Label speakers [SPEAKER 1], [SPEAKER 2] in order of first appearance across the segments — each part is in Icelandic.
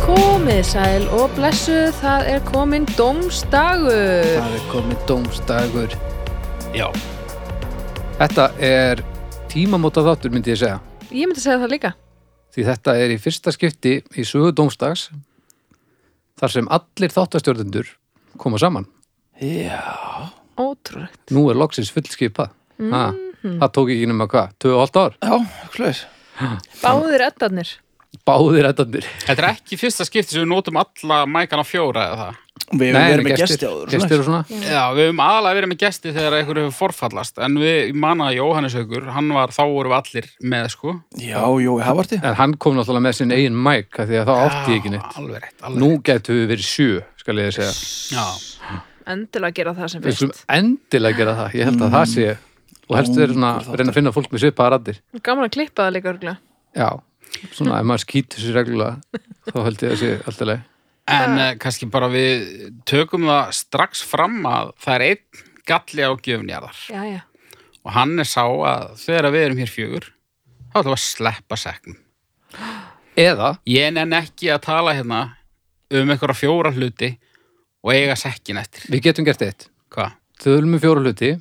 [SPEAKER 1] Komið sæl og blessuð, það er komin domstagur.
[SPEAKER 2] Það er komið dómstagur Já Þetta er tímamóta þáttur myndi ég segja
[SPEAKER 1] Ég myndi segja það líka.
[SPEAKER 2] því þetta er í fyrsta skipti í sögu dómstags þar sem allir þáttastjórnendur koma saman
[SPEAKER 3] Já,
[SPEAKER 1] Ótrúlegt.
[SPEAKER 2] Nú er loksins fullskipað mm -hmm. Það tók ekki nema hvað, 2,5 ár
[SPEAKER 3] já, hlur
[SPEAKER 1] Báðir eddarnir.
[SPEAKER 2] Báðir eddandir
[SPEAKER 4] Þetta er ekki fyrsta skipti sem við notum alla mækana fjóra eða það.
[SPEAKER 3] Við erum með gesti áður
[SPEAKER 2] gestir og svona
[SPEAKER 4] Já, við höfum aðalega verið með gesti þegar einhverju hefur forfallast, en við manna Jóhannes Haugur, hann var, þá vorum við allir með, sko.
[SPEAKER 3] Já, Jói Havarti
[SPEAKER 2] En hann kom náttúrulega með sinn eigin mæk af því að það átti ég ekki neitt
[SPEAKER 4] Alveg rétt, alveg
[SPEAKER 2] Nú getum við verið sjö, skal ég segja
[SPEAKER 4] rétt. Já,
[SPEAKER 1] Endilega gera það sem
[SPEAKER 2] Við skulum
[SPEAKER 1] fyrst.
[SPEAKER 2] endilega gera það, ég held að það sé og helst verður svona
[SPEAKER 3] Langur þáttur.
[SPEAKER 2] reyna að finna fólk með svipaða raddir
[SPEAKER 1] Gaman að klippa það líka örgulega.
[SPEAKER 2] Já, svona ef maður skýtur sér reglulega þá held ég að sé alltaf leið
[SPEAKER 4] en uh, kannski bara við tökum það strax fram að það er einn galli á gjöfnjarðar
[SPEAKER 1] Já, já.
[SPEAKER 4] og hann er sá að þegar við erum hér fjögur, þá ætlum við að sleppa seknum.
[SPEAKER 2] Eða,
[SPEAKER 4] Ég nenn ekki að tala hérna um einhverja fjóra hluti og eiga sekkin eftir.
[SPEAKER 2] við getum gert eitt
[SPEAKER 4] Hvað?
[SPEAKER 2] Þöðlum við fjóra hluti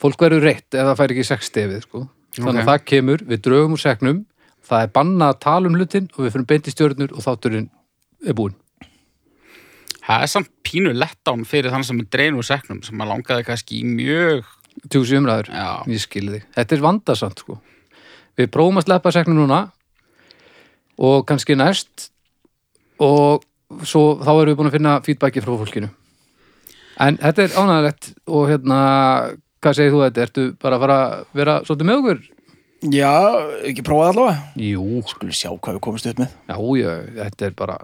[SPEAKER 2] Fólk verður reitt ef það fær ekki sex stefið sko. Þannig
[SPEAKER 4] Ok.
[SPEAKER 2] að það kemur, við draugum úr segnum Það er bannað að tala um hlutin og við fyrir beint í stjörnur og þátturinn er búinn
[SPEAKER 4] Það er samt pínu lettán fyrir þann sem er dreinu úr seknum sem að langaði kannski í mjög
[SPEAKER 2] Tjúsi umræður,
[SPEAKER 4] Já.
[SPEAKER 2] ég skil þig Þetta er vandasamt sko Við prófum að sleppa segnum núna og kannski næst og svo þá erum við búin að finna feedbacki frá fólkinu En þetta er ánægilegt og hérna, hvað segir þú þetta? Ertu bara að fara að vera svolítið með okkur?
[SPEAKER 3] Já, ekki prófaði allavega
[SPEAKER 2] Jú,
[SPEAKER 3] Skulum sjá hvað við komumst upp með
[SPEAKER 2] Já, já, þetta er bara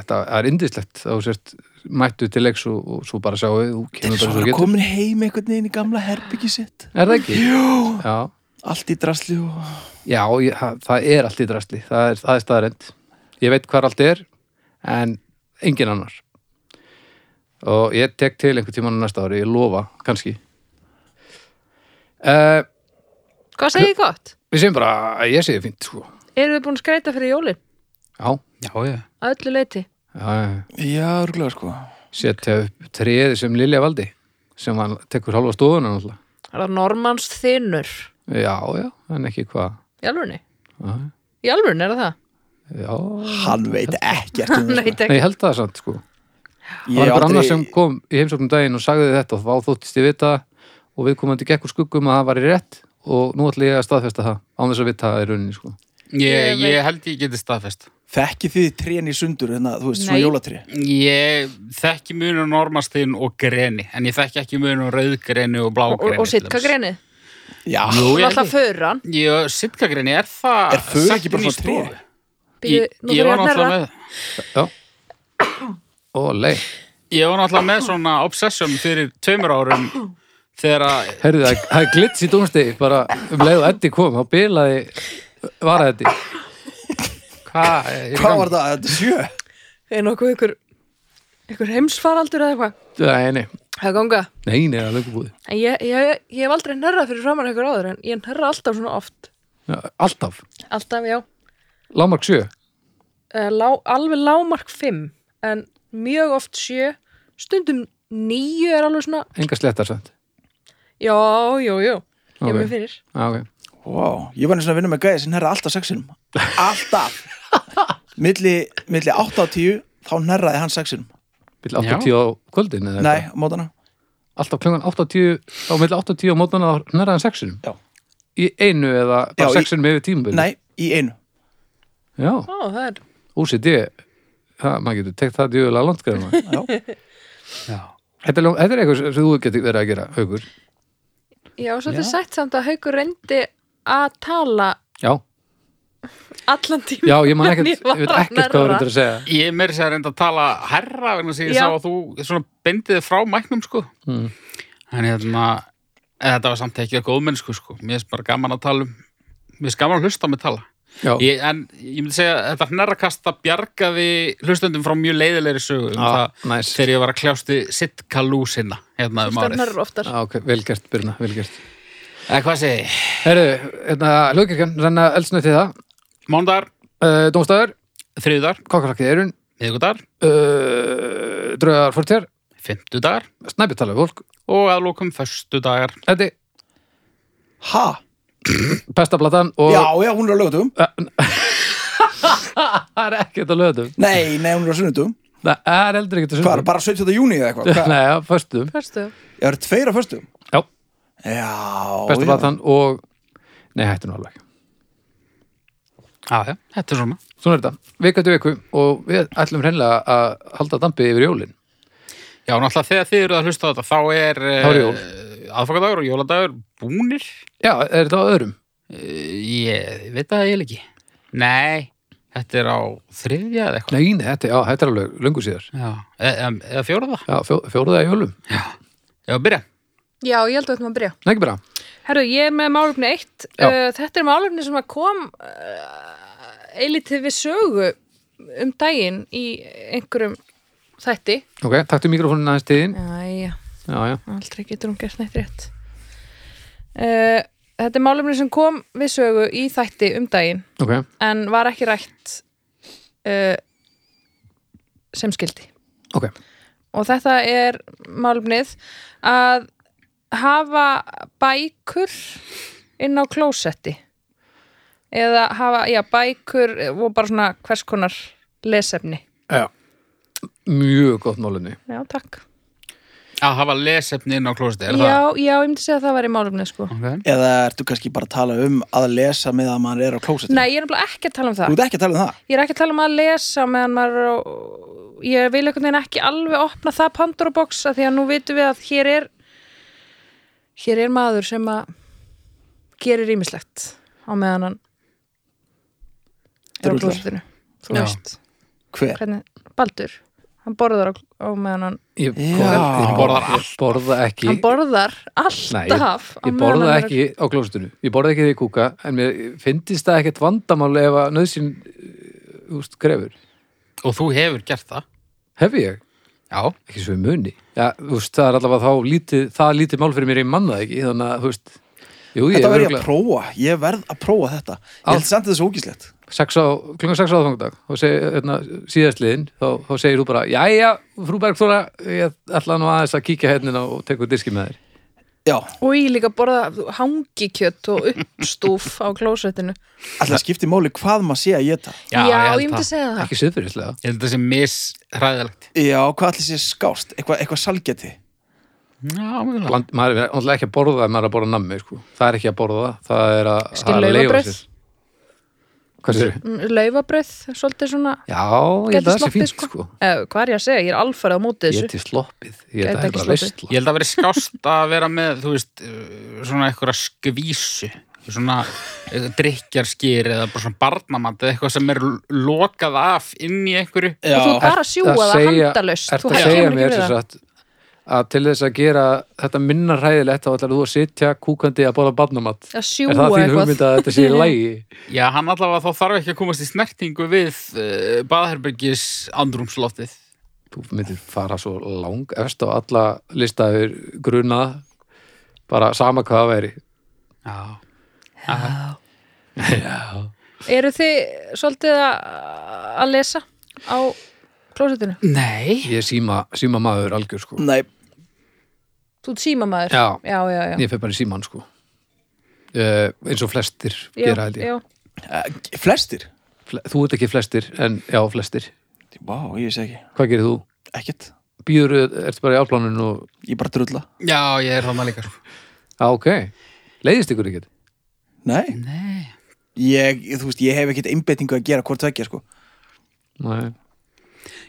[SPEAKER 2] þetta er indislegt þá sért mættu til leiks og, og svo bara sjáu þú
[SPEAKER 3] Þetta er
[SPEAKER 2] kemur bara
[SPEAKER 3] svo
[SPEAKER 2] svo
[SPEAKER 3] að
[SPEAKER 2] getur
[SPEAKER 3] komin heim einhvern veginn í gamla herbyggi sitt
[SPEAKER 2] Er það ekki? Jú Já,
[SPEAKER 3] Allt í drasli og
[SPEAKER 2] já ég, það, það er allt í drasli það er, það er staðarend Ég veit hvar allt er en engin annar og ég tek til einhvern tímann á næsta ári ég lofa, kannski uh,
[SPEAKER 1] Hvað segir ég gott?
[SPEAKER 2] Við séum bara að ég segi fínt sko.
[SPEAKER 1] Eru við búin að skreita fyrir jólin?
[SPEAKER 2] Já,
[SPEAKER 4] Já, já.
[SPEAKER 1] Að öllu leiti.
[SPEAKER 2] já, já
[SPEAKER 3] Já, örgulega sko
[SPEAKER 2] Setja upp treði sem Lilja valdi sem hann tekur halva stofuna náttúrulega
[SPEAKER 1] Það er normans þinnur.
[SPEAKER 2] Já, já, en ekki hvað.
[SPEAKER 1] Í alvörni.
[SPEAKER 2] Já,
[SPEAKER 1] Í alvörni er það það.
[SPEAKER 2] Já,
[SPEAKER 3] Hann veit ekkert um
[SPEAKER 1] Nei,
[SPEAKER 3] þetta
[SPEAKER 1] þetta
[SPEAKER 2] Nei,
[SPEAKER 1] ekki.
[SPEAKER 2] ég held það samt, sko. Það
[SPEAKER 3] Ég
[SPEAKER 2] var
[SPEAKER 3] hef
[SPEAKER 2] einhver annar
[SPEAKER 3] aldrei-
[SPEAKER 2] sem kom í heimsóknum daginn og sagði þetta og þá þóttist ég vita það og við komandi gekk úr skuggum að það var í rétt og nú ætlum ég að staðfesta það án þess að vita það í rauninni, sko.
[SPEAKER 4] Ég,
[SPEAKER 1] Ég veit.
[SPEAKER 4] ég held ég geti staðfest.
[SPEAKER 3] Þekki þið trén í sundur en þú veist, svona
[SPEAKER 1] Nei.
[SPEAKER 3] jólatrí
[SPEAKER 4] Ég þekki munur normastinn og greni, en ég þekki ekki munur rauðgreni og
[SPEAKER 1] Og, og,
[SPEAKER 4] blágreni.
[SPEAKER 1] og sitka greinið.
[SPEAKER 3] Já,
[SPEAKER 4] Jú,
[SPEAKER 1] Og
[SPEAKER 4] ég
[SPEAKER 1] alltaf
[SPEAKER 4] held ég.
[SPEAKER 1] föran.
[SPEAKER 4] Ég, sitka greni, er það...
[SPEAKER 3] Er föð ekki bara
[SPEAKER 4] sektin í
[SPEAKER 3] svona tré?
[SPEAKER 4] stofu?
[SPEAKER 1] Býðu,
[SPEAKER 4] Ég,
[SPEAKER 1] nú þurfum
[SPEAKER 4] ég var
[SPEAKER 1] ég að
[SPEAKER 4] náttúrulega
[SPEAKER 1] hnerra.
[SPEAKER 4] með...
[SPEAKER 2] Já. Ó, lei.
[SPEAKER 4] Ég var náttúrulega með svona obsession fyrir tveimur árum þegar að...
[SPEAKER 2] Herðu, það- það er glits í dómstegi, bara um leið og Eddi kom, þá bilaði, var Eddi. Hvað?
[SPEAKER 3] hvað var það? Þetta er sjö?
[SPEAKER 1] Er nokkuð ykkur, ykkur heimsfaraldur eða eitthvað?
[SPEAKER 2] Nei, nei,
[SPEAKER 1] Það er ganga.
[SPEAKER 2] nei, nei, það er lögubúði.
[SPEAKER 1] En ég, ég, ég hef aldrei nærrað fyrir framann ykkur áður en ég nærra alltaf svona oft.
[SPEAKER 2] Alltaf.
[SPEAKER 1] Alltaf, já.
[SPEAKER 2] Lámark 7.
[SPEAKER 1] Eh, Lá, alveg lámark 5 en mjög oft 7 stundum 9 er alveg svona
[SPEAKER 2] Enga slettar sent.
[SPEAKER 1] já, já, já, ég er
[SPEAKER 2] Ok.
[SPEAKER 1] mér fyrir
[SPEAKER 2] Já, Ah, ok.
[SPEAKER 3] Vá, ég var eins og að vinna með gæði sem herra alltaf sexinum Alltaf Milli, milli 8 á 10 þá herraði hann sexinum
[SPEAKER 2] Vill 8.10 á kvöldin? eða
[SPEAKER 3] Nei, á mótana
[SPEAKER 2] alltaf klungan 8.10 á milli 8.10 á mótana þá nærðan sexinum
[SPEAKER 3] Já.
[SPEAKER 2] í einu eða bara
[SPEAKER 3] Já, í-
[SPEAKER 2] sexinum yfir tímabili
[SPEAKER 3] Nei, í einu
[SPEAKER 2] já,
[SPEAKER 1] Ó, það er,
[SPEAKER 2] OCD það, maður getur tekt það djöfulega langt gæðum maður.
[SPEAKER 3] Já.
[SPEAKER 4] Já.
[SPEAKER 2] þetta, er ljó- þetta er eitthvað sem þú getur verið að gera haugur,
[SPEAKER 1] já, svolítið sætt samt að Haukur reyndi að tala
[SPEAKER 2] já,
[SPEAKER 1] allan tíma
[SPEAKER 2] já ég man
[SPEAKER 1] En
[SPEAKER 2] ekkert
[SPEAKER 1] ég var
[SPEAKER 2] ég veit
[SPEAKER 1] að
[SPEAKER 2] ekkert hvað þú
[SPEAKER 1] hnerra.
[SPEAKER 2] reyndir að segja
[SPEAKER 4] Ég meiri sér reynda að tala herra vegna sem ég
[SPEAKER 1] Já.
[SPEAKER 4] sá að þú svona bendið þig frá mæknum sko
[SPEAKER 2] Mm.
[SPEAKER 4] en hérna en þetta var samt ekki að góð mennsku sko mér finnst bara gaman að tala um mér finnst gaman að hlusta á mig tala
[SPEAKER 2] já,
[SPEAKER 4] ég, en ég myndi segja að þetta hnerrakasta bjargaði hlustendum frá mjög leiðilegri sögu um
[SPEAKER 2] já,
[SPEAKER 4] það
[SPEAKER 2] næs
[SPEAKER 4] þegar ég var að kljást við Sitka Lúsina hérna um
[SPEAKER 1] það
[SPEAKER 4] árið
[SPEAKER 1] nærra oftar
[SPEAKER 2] Já, Ah, ok, vel gert, Byrna, vel gert.
[SPEAKER 4] eða hvað segi ég?
[SPEAKER 2] Herru, hérna, hlugkirkjan, renna eldsnöð til það,
[SPEAKER 4] Mándar
[SPEAKER 2] uh, Dómstæður,
[SPEAKER 4] þriðudar,
[SPEAKER 2] Kokkasakki Eirun,
[SPEAKER 4] miðgudar,
[SPEAKER 2] uh, Draugar Fortér,
[SPEAKER 4] fymtudar
[SPEAKER 2] Snæbjörntalegu fólk,
[SPEAKER 4] og aðlokum föstudagar.
[SPEAKER 2] þetta er
[SPEAKER 3] Ha?
[SPEAKER 2] Pestablatan og
[SPEAKER 3] Já, já, hún er á lögutum
[SPEAKER 2] það er ekkert að löðum.
[SPEAKER 3] Nei, nei, hún er á sunnutum
[SPEAKER 2] Það er heldur ekkert að
[SPEAKER 3] Hvað,
[SPEAKER 2] sundum.
[SPEAKER 3] bara 17. júni eða eitthvað? Hvað?
[SPEAKER 2] Nei, já, föstum.
[SPEAKER 1] Fyrstu.
[SPEAKER 3] Ég er tveir á föstum
[SPEAKER 2] Já,
[SPEAKER 3] Já, já.
[SPEAKER 2] Pestablatan og, nei, hættu nú alveg.
[SPEAKER 4] Já, já, þetta er svona.
[SPEAKER 2] Svona er þetta, viku eftir viku og við ætlum hreinlega að halda dampi yfir jólin.
[SPEAKER 4] Já, náttúrulega þegar þið eruð að hlusta á þetta, þá er,
[SPEAKER 2] Þá er jól.
[SPEAKER 4] eh, aðfangadagur og jóladagur búnir.
[SPEAKER 2] Já, er þetta á öðrum?
[SPEAKER 4] Eh, Ég veit það eiginlega ekki. Nei, þetta er á þriðja eða eitthvað.
[SPEAKER 2] Nei, nei, þetta, já, þetta er alveg lungu síðar.
[SPEAKER 4] Já, e e eða fjóraða.
[SPEAKER 2] Já, fjó, fjóruða í jólum.
[SPEAKER 4] Já, byrja.
[SPEAKER 1] Já, ég held að þetta maður byrja.
[SPEAKER 2] Nei, ekki bara.
[SPEAKER 1] Herru, ég er með málefni eitt.
[SPEAKER 2] Já.
[SPEAKER 1] Uh, þetta er málefni sem að kom uh, eilítið við sögu um daginn í einhverjum þætti.
[SPEAKER 2] Ok, taktu mikrofónin aðeins tíðin.
[SPEAKER 1] Æja,
[SPEAKER 2] Já, já.
[SPEAKER 1] aldrei getur hún gert neitt rétt. Uh, þetta er málefni sem kom við sögu í þætti um daginn
[SPEAKER 2] Ok,
[SPEAKER 1] en var ekki rætt uh, sem skildi.
[SPEAKER 2] ok.
[SPEAKER 1] og þetta er málumnið að hafa bækur inn á klósetti eða hafa, já, bækur og bara svona hvers konar lesefni.
[SPEAKER 2] Já. Mjög gott málunni.
[SPEAKER 1] Já, takk.
[SPEAKER 4] Að hafa lesefni inn á klósiti, er það? Mm.
[SPEAKER 1] Já, já, ég myndi segja að það væri málumnið, sko.
[SPEAKER 4] Ok.
[SPEAKER 3] Eða ertu kannski bara að tala um að lesa með að maður er á klósetum?
[SPEAKER 1] Nei, ég er nefnilega ekki að tala um
[SPEAKER 3] Þú
[SPEAKER 1] það.
[SPEAKER 3] ert ekki að tala um það?
[SPEAKER 1] Ég er ekki að tala um að lesa meðan maður er á... Ég vil einhvern veginn ekki alveg opna það Pandora box að því að nú vitum við að hér er hér er maður sem að gerir ímislegt á meðan hann er á
[SPEAKER 3] Drullar.
[SPEAKER 1] klósitinu. Þú
[SPEAKER 4] Já.
[SPEAKER 1] veist,
[SPEAKER 3] Hver?
[SPEAKER 1] hvernig Baldur, hann borðar á, á meðan hann
[SPEAKER 2] Ég
[SPEAKER 3] Já.
[SPEAKER 2] borða, ég borða,
[SPEAKER 4] Borðar
[SPEAKER 2] ég borða ekki.
[SPEAKER 1] hann borðar
[SPEAKER 2] Nei, ég,
[SPEAKER 1] alltaf á
[SPEAKER 2] ég
[SPEAKER 1] meðan
[SPEAKER 2] borða
[SPEAKER 1] hann er á-
[SPEAKER 2] ekki á klóstinu. Ég borða ekki því kúka, en mér finnst það ekkert vandamál ef að nöðsinn, úst, grefur.
[SPEAKER 4] Og þú hefur gert það.
[SPEAKER 2] Hef ég?
[SPEAKER 4] Já.
[SPEAKER 2] Ekki svo í muni. Já, úst, það er allavega þá lítið, það er lítið mál fyrir mér í manna ekki, þannig að, þú veist, jú, ég
[SPEAKER 3] Þetta verð ég
[SPEAKER 2] örugglega-
[SPEAKER 3] að prófa, ég verð að prófa þetta Ég held samt að þetta er svo ógíslegt
[SPEAKER 2] sex á, klungan 6 á aðfangadag og seg, hérna, síðastliðin þá, þá segir þú bara, jæja, frú Bergþóra ég ætla nú aðeins að kíkja hérna og tekur diski með þér
[SPEAKER 3] Já,
[SPEAKER 1] og ég líka borða hangikjött og uppstúf á klósitinu
[SPEAKER 3] alltaf skipti máli hvað maður sé að geta
[SPEAKER 1] já,
[SPEAKER 4] held
[SPEAKER 1] ég myndi
[SPEAKER 4] það.
[SPEAKER 1] segja það
[SPEAKER 2] ekki siðfyrirslega
[SPEAKER 4] Ég held það sem mis hræðilegt.
[SPEAKER 3] Já, hvað allir sé skást, eitthvað, eitthvað salgeti
[SPEAKER 4] Já, mjög
[SPEAKER 2] Land, maður er náttúrulega ekki að borða ef maður er að borða nammi sko. það er ekki að borða, það er að,
[SPEAKER 1] Skil
[SPEAKER 2] það er að leyfa
[SPEAKER 1] laufabrauð.
[SPEAKER 2] sér. hvað sér?
[SPEAKER 1] laufabröð, svolítið svona
[SPEAKER 2] Já, ég held að
[SPEAKER 1] Gæti
[SPEAKER 2] það sé
[SPEAKER 1] sloppið,
[SPEAKER 2] fínt
[SPEAKER 1] sko.
[SPEAKER 2] sko.
[SPEAKER 1] Eh, hvað er ég að segja, ég er alfarið á móti
[SPEAKER 2] ég
[SPEAKER 1] þessu
[SPEAKER 2] til sloppið, ég
[SPEAKER 1] Gæti
[SPEAKER 2] held að það er
[SPEAKER 1] ekki
[SPEAKER 2] bara
[SPEAKER 1] sloppið.
[SPEAKER 2] veistla
[SPEAKER 4] Ég held að vera skást að vera með, þú veist, eh, svona einhverja skvísu, svona eh, drykkjarskýr eða bara svona barnamat eða eitthvað sem er l- lokað af inn í einhverju.
[SPEAKER 1] og
[SPEAKER 3] Já,
[SPEAKER 1] þú bara sjúa það handalaust
[SPEAKER 2] ert
[SPEAKER 1] þú
[SPEAKER 2] að
[SPEAKER 1] kemur
[SPEAKER 2] segja
[SPEAKER 1] ekki
[SPEAKER 2] mér
[SPEAKER 1] við
[SPEAKER 2] sem
[SPEAKER 1] það
[SPEAKER 2] sagt að til þess að gera þetta minna hræðilegt þá ætlar þú að sitja kúkandi að borða barnamatt
[SPEAKER 1] að
[SPEAKER 2] er
[SPEAKER 1] sjúa
[SPEAKER 2] það þín
[SPEAKER 1] eitthvað
[SPEAKER 2] hugmynd að þetta sé í lægi
[SPEAKER 4] Já, hann allavega þá þarf ekki að komast í snertingu við uh, baðherbergis andrumsloftið.
[SPEAKER 2] þú myndir fara svo lang efst á alla lista yfir grunað bara sama hvað það væri
[SPEAKER 4] Já.
[SPEAKER 1] eru þið svolítið að að lesa á klósetinu
[SPEAKER 4] Nei.
[SPEAKER 2] ég er síma, síma maður algjör sko
[SPEAKER 3] nei,
[SPEAKER 1] þú ert símamaður
[SPEAKER 2] Já.
[SPEAKER 1] já, já, já.
[SPEAKER 2] ég fer bara í síman sko uh, eins og flestir gera held
[SPEAKER 1] já,
[SPEAKER 2] ég
[SPEAKER 1] já.
[SPEAKER 3] eh, flestir
[SPEAKER 2] Fle þú ert ekki flestir en já flestir
[SPEAKER 3] Vá, ég sé ekki,
[SPEAKER 2] hvað gerir þú?
[SPEAKER 3] ekkert
[SPEAKER 2] býður, ertu bara í álplánun og
[SPEAKER 3] Ég bara drulla
[SPEAKER 4] Já, ég er þannig líka. sko.
[SPEAKER 2] já ok, leiðist ykkur ekkert
[SPEAKER 3] Nei,
[SPEAKER 4] Nei.
[SPEAKER 3] ég, þú veist, ég hef ekkert einbeitingu að gera hvort tveggja, sko
[SPEAKER 2] Nei.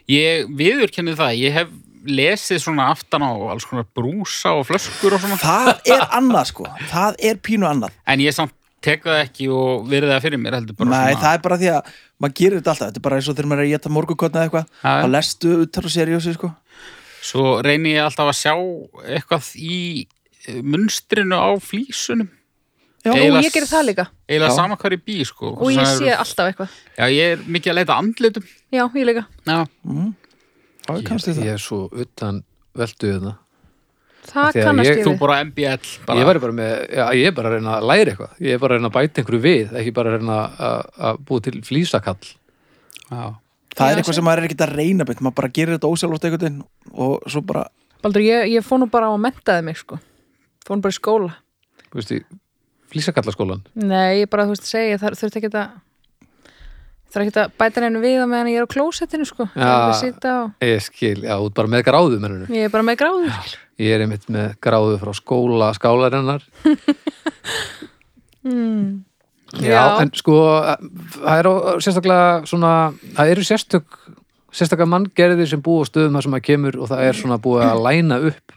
[SPEAKER 4] Ég viðurkenni það, ég hef lesið svona aftan á alls konar brúsa og flöskur og svona.
[SPEAKER 3] Það er annað, sko, það er pínu annað
[SPEAKER 4] En ég samt tek það ekki og virði það fyrir mér heldur bara
[SPEAKER 3] Nei,
[SPEAKER 4] svona.
[SPEAKER 3] það er bara því að maður gerir þetta alltaf Þetta er bara eins og þegar maður er að geta morgukotna eða eitthvað
[SPEAKER 4] Já, já.
[SPEAKER 3] Þá lestu utar og seriósi, sko
[SPEAKER 4] Svo reyni ég alltaf að sjá eitthvað í eh, munstrinu á flísunum.
[SPEAKER 3] Já.
[SPEAKER 1] Nú,
[SPEAKER 4] Eiginlega-
[SPEAKER 1] ég gerir það líka
[SPEAKER 4] Eiginlega
[SPEAKER 3] Já.
[SPEAKER 4] sama hvar ég bý, sko.
[SPEAKER 1] og ég
[SPEAKER 4] Svona
[SPEAKER 1] sé
[SPEAKER 4] er-
[SPEAKER 1] alltaf eitthvað
[SPEAKER 4] Já, ég er mikið að leita að andlitum.
[SPEAKER 1] já, ég líka,
[SPEAKER 4] Já.
[SPEAKER 3] Það er kannski
[SPEAKER 2] ég,
[SPEAKER 3] það
[SPEAKER 2] ég er svo utan veldu þetta Af
[SPEAKER 1] það
[SPEAKER 2] því að
[SPEAKER 1] kannast
[SPEAKER 2] ég-
[SPEAKER 1] ég,
[SPEAKER 4] Þú
[SPEAKER 1] við
[SPEAKER 4] bara MBL. Bara.
[SPEAKER 2] Ég, væri bara með, já, ég er bara að reyna að læra eitthvað ég er bara að reyna að bæta einhverju við ekki bara að reyna að- að búa til flýsakall
[SPEAKER 4] já.
[SPEAKER 3] það
[SPEAKER 1] Já,
[SPEAKER 3] er eitthvað
[SPEAKER 1] sem-
[SPEAKER 3] sem maður er ekkert að reyna beint maður bara gerir þetta ósjálfótt einhvern veginn og svo bara
[SPEAKER 1] Baldur, ég, ég fór nú bara á að mentaði mig sko fór nú bara í skóla
[SPEAKER 2] Þú veist, í flýsakallaskólan
[SPEAKER 1] Nei, ég bara þú veist að segja, það þurfti ekki að þarf ekki að bæta neinu við á meðan ég er á klósettinu sko
[SPEAKER 2] Já.
[SPEAKER 1] Það er að sitja og-
[SPEAKER 2] Ég skil, já, út bara með gráðu mennunu
[SPEAKER 1] ég er bara með gráður skilur.
[SPEAKER 2] Ég er einmitt með gráðu frá skóla skálarinnar Já,
[SPEAKER 1] Já.
[SPEAKER 2] en sko það er á- sérstaklega svona það eru sérstök sérstaklega manngerðir sem búa á stöðum þar sem maður kemur og það er svona búið að læna upp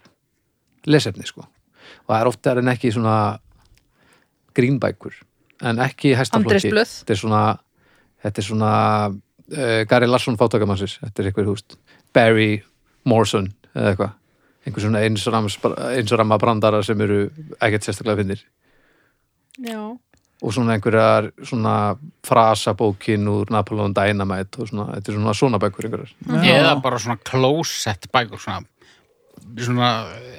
[SPEAKER 2] lesefni sko og það er oftar en ekki svona grínbækur en ekki í hæsta
[SPEAKER 1] Andrés
[SPEAKER 2] flokki.
[SPEAKER 1] blöð.
[SPEAKER 2] þetta er svona þetta er svona uh, Gary Larsson fátakamannsins þetta er eitthvað húst Barry Morson eða eitthvað einhver svona einsrams- einsramma brandara sem eru ekkert sérstaklega finnir
[SPEAKER 1] Já,
[SPEAKER 2] og svona einhverjar svona frasabókin úr Napoleon Dynamite og svona, þetta er svona svona bækur einhverjar
[SPEAKER 4] eða bara svona closet bækur svona, svona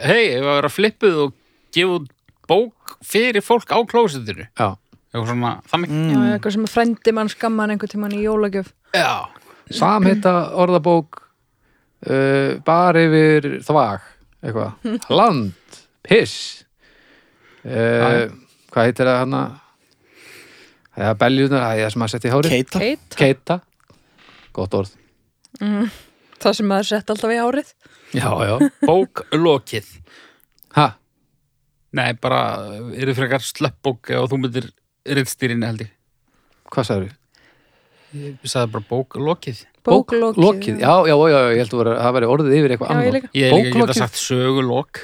[SPEAKER 4] hei, ef að vera flippuð og gefa út bók fyrir fólk á closetinu
[SPEAKER 2] Já,
[SPEAKER 4] eitthvað svona, þannig
[SPEAKER 1] já, eitthvað sem að frendi mann skamman einhvern tímann í jólagjöf
[SPEAKER 4] já,
[SPEAKER 2] samheita orðabók uh, bara yfir þvag eitthvað, land piss uh, hvað heitir það hana það er beljunar, það er sem að setja í hári
[SPEAKER 3] keita
[SPEAKER 1] Keit,
[SPEAKER 2] keita, gott orð
[SPEAKER 1] það sem maður sett alltaf í árið
[SPEAKER 2] já, já,
[SPEAKER 4] bók lokið
[SPEAKER 2] ha,
[SPEAKER 4] nei, bara eru frekar sleppbók og þú myndir rittstýrin held ég
[SPEAKER 2] hvað sagður
[SPEAKER 4] ég sagði bara bók lokið
[SPEAKER 1] Bóklokið
[SPEAKER 2] lokið, já, já, já, já, ég held að voru- það væri orðið yfir eitthvað
[SPEAKER 1] Já, ég
[SPEAKER 2] annað
[SPEAKER 1] líka.
[SPEAKER 4] ég er líka að
[SPEAKER 2] Bóklokið.
[SPEAKER 4] geta sagt sögulok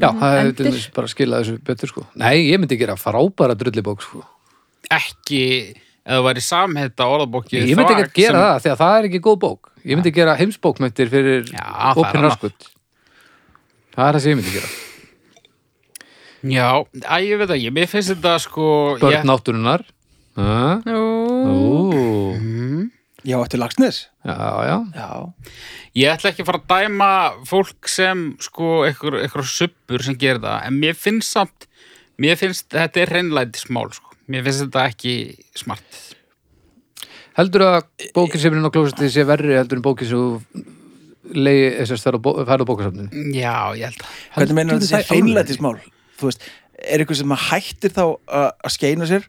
[SPEAKER 2] Já, það hefur
[SPEAKER 1] Endir.
[SPEAKER 2] til dæmis bara skilað þessu betur sko. Nei, ég myndi gera frábæra drullibók sko.
[SPEAKER 4] ekki eða þú væri samhætta orðabóki
[SPEAKER 2] Ég myndi ekki gera það, því að það er ekki góð bók. Ég myndi gera heimsbókmöntir fyrir
[SPEAKER 4] Já, það er
[SPEAKER 2] opinn
[SPEAKER 4] annað.
[SPEAKER 2] raskut. Það er það sem ég myndi gera.
[SPEAKER 4] já, æ, ég veit ekki, mér finnst þetta sko
[SPEAKER 2] Börn
[SPEAKER 4] ég-
[SPEAKER 2] nátturinnar. Ah,
[SPEAKER 1] Nú,
[SPEAKER 2] ú,
[SPEAKER 3] já, eftir lagsnes
[SPEAKER 2] já, já.
[SPEAKER 3] já,
[SPEAKER 4] Ég ætla ekki að fara að dæma fólk sem sko einhver, einhver suppur sem gerir það en mér finnst samt mér finnst þetta er reynlætismál sko. mér finnst þetta ekki smart
[SPEAKER 2] Heldur að bókin sem er inn á klósetti sé verri heldur en bókin sem þú leiði þessast færðu bókasafninu.
[SPEAKER 4] Já, ég held að
[SPEAKER 3] hvernig meina þetta
[SPEAKER 2] Heldur
[SPEAKER 3] sé
[SPEAKER 2] það í alvöru?
[SPEAKER 3] hreinlætismál þú veist, er eitthvað sem að hættir þá að að skeina sér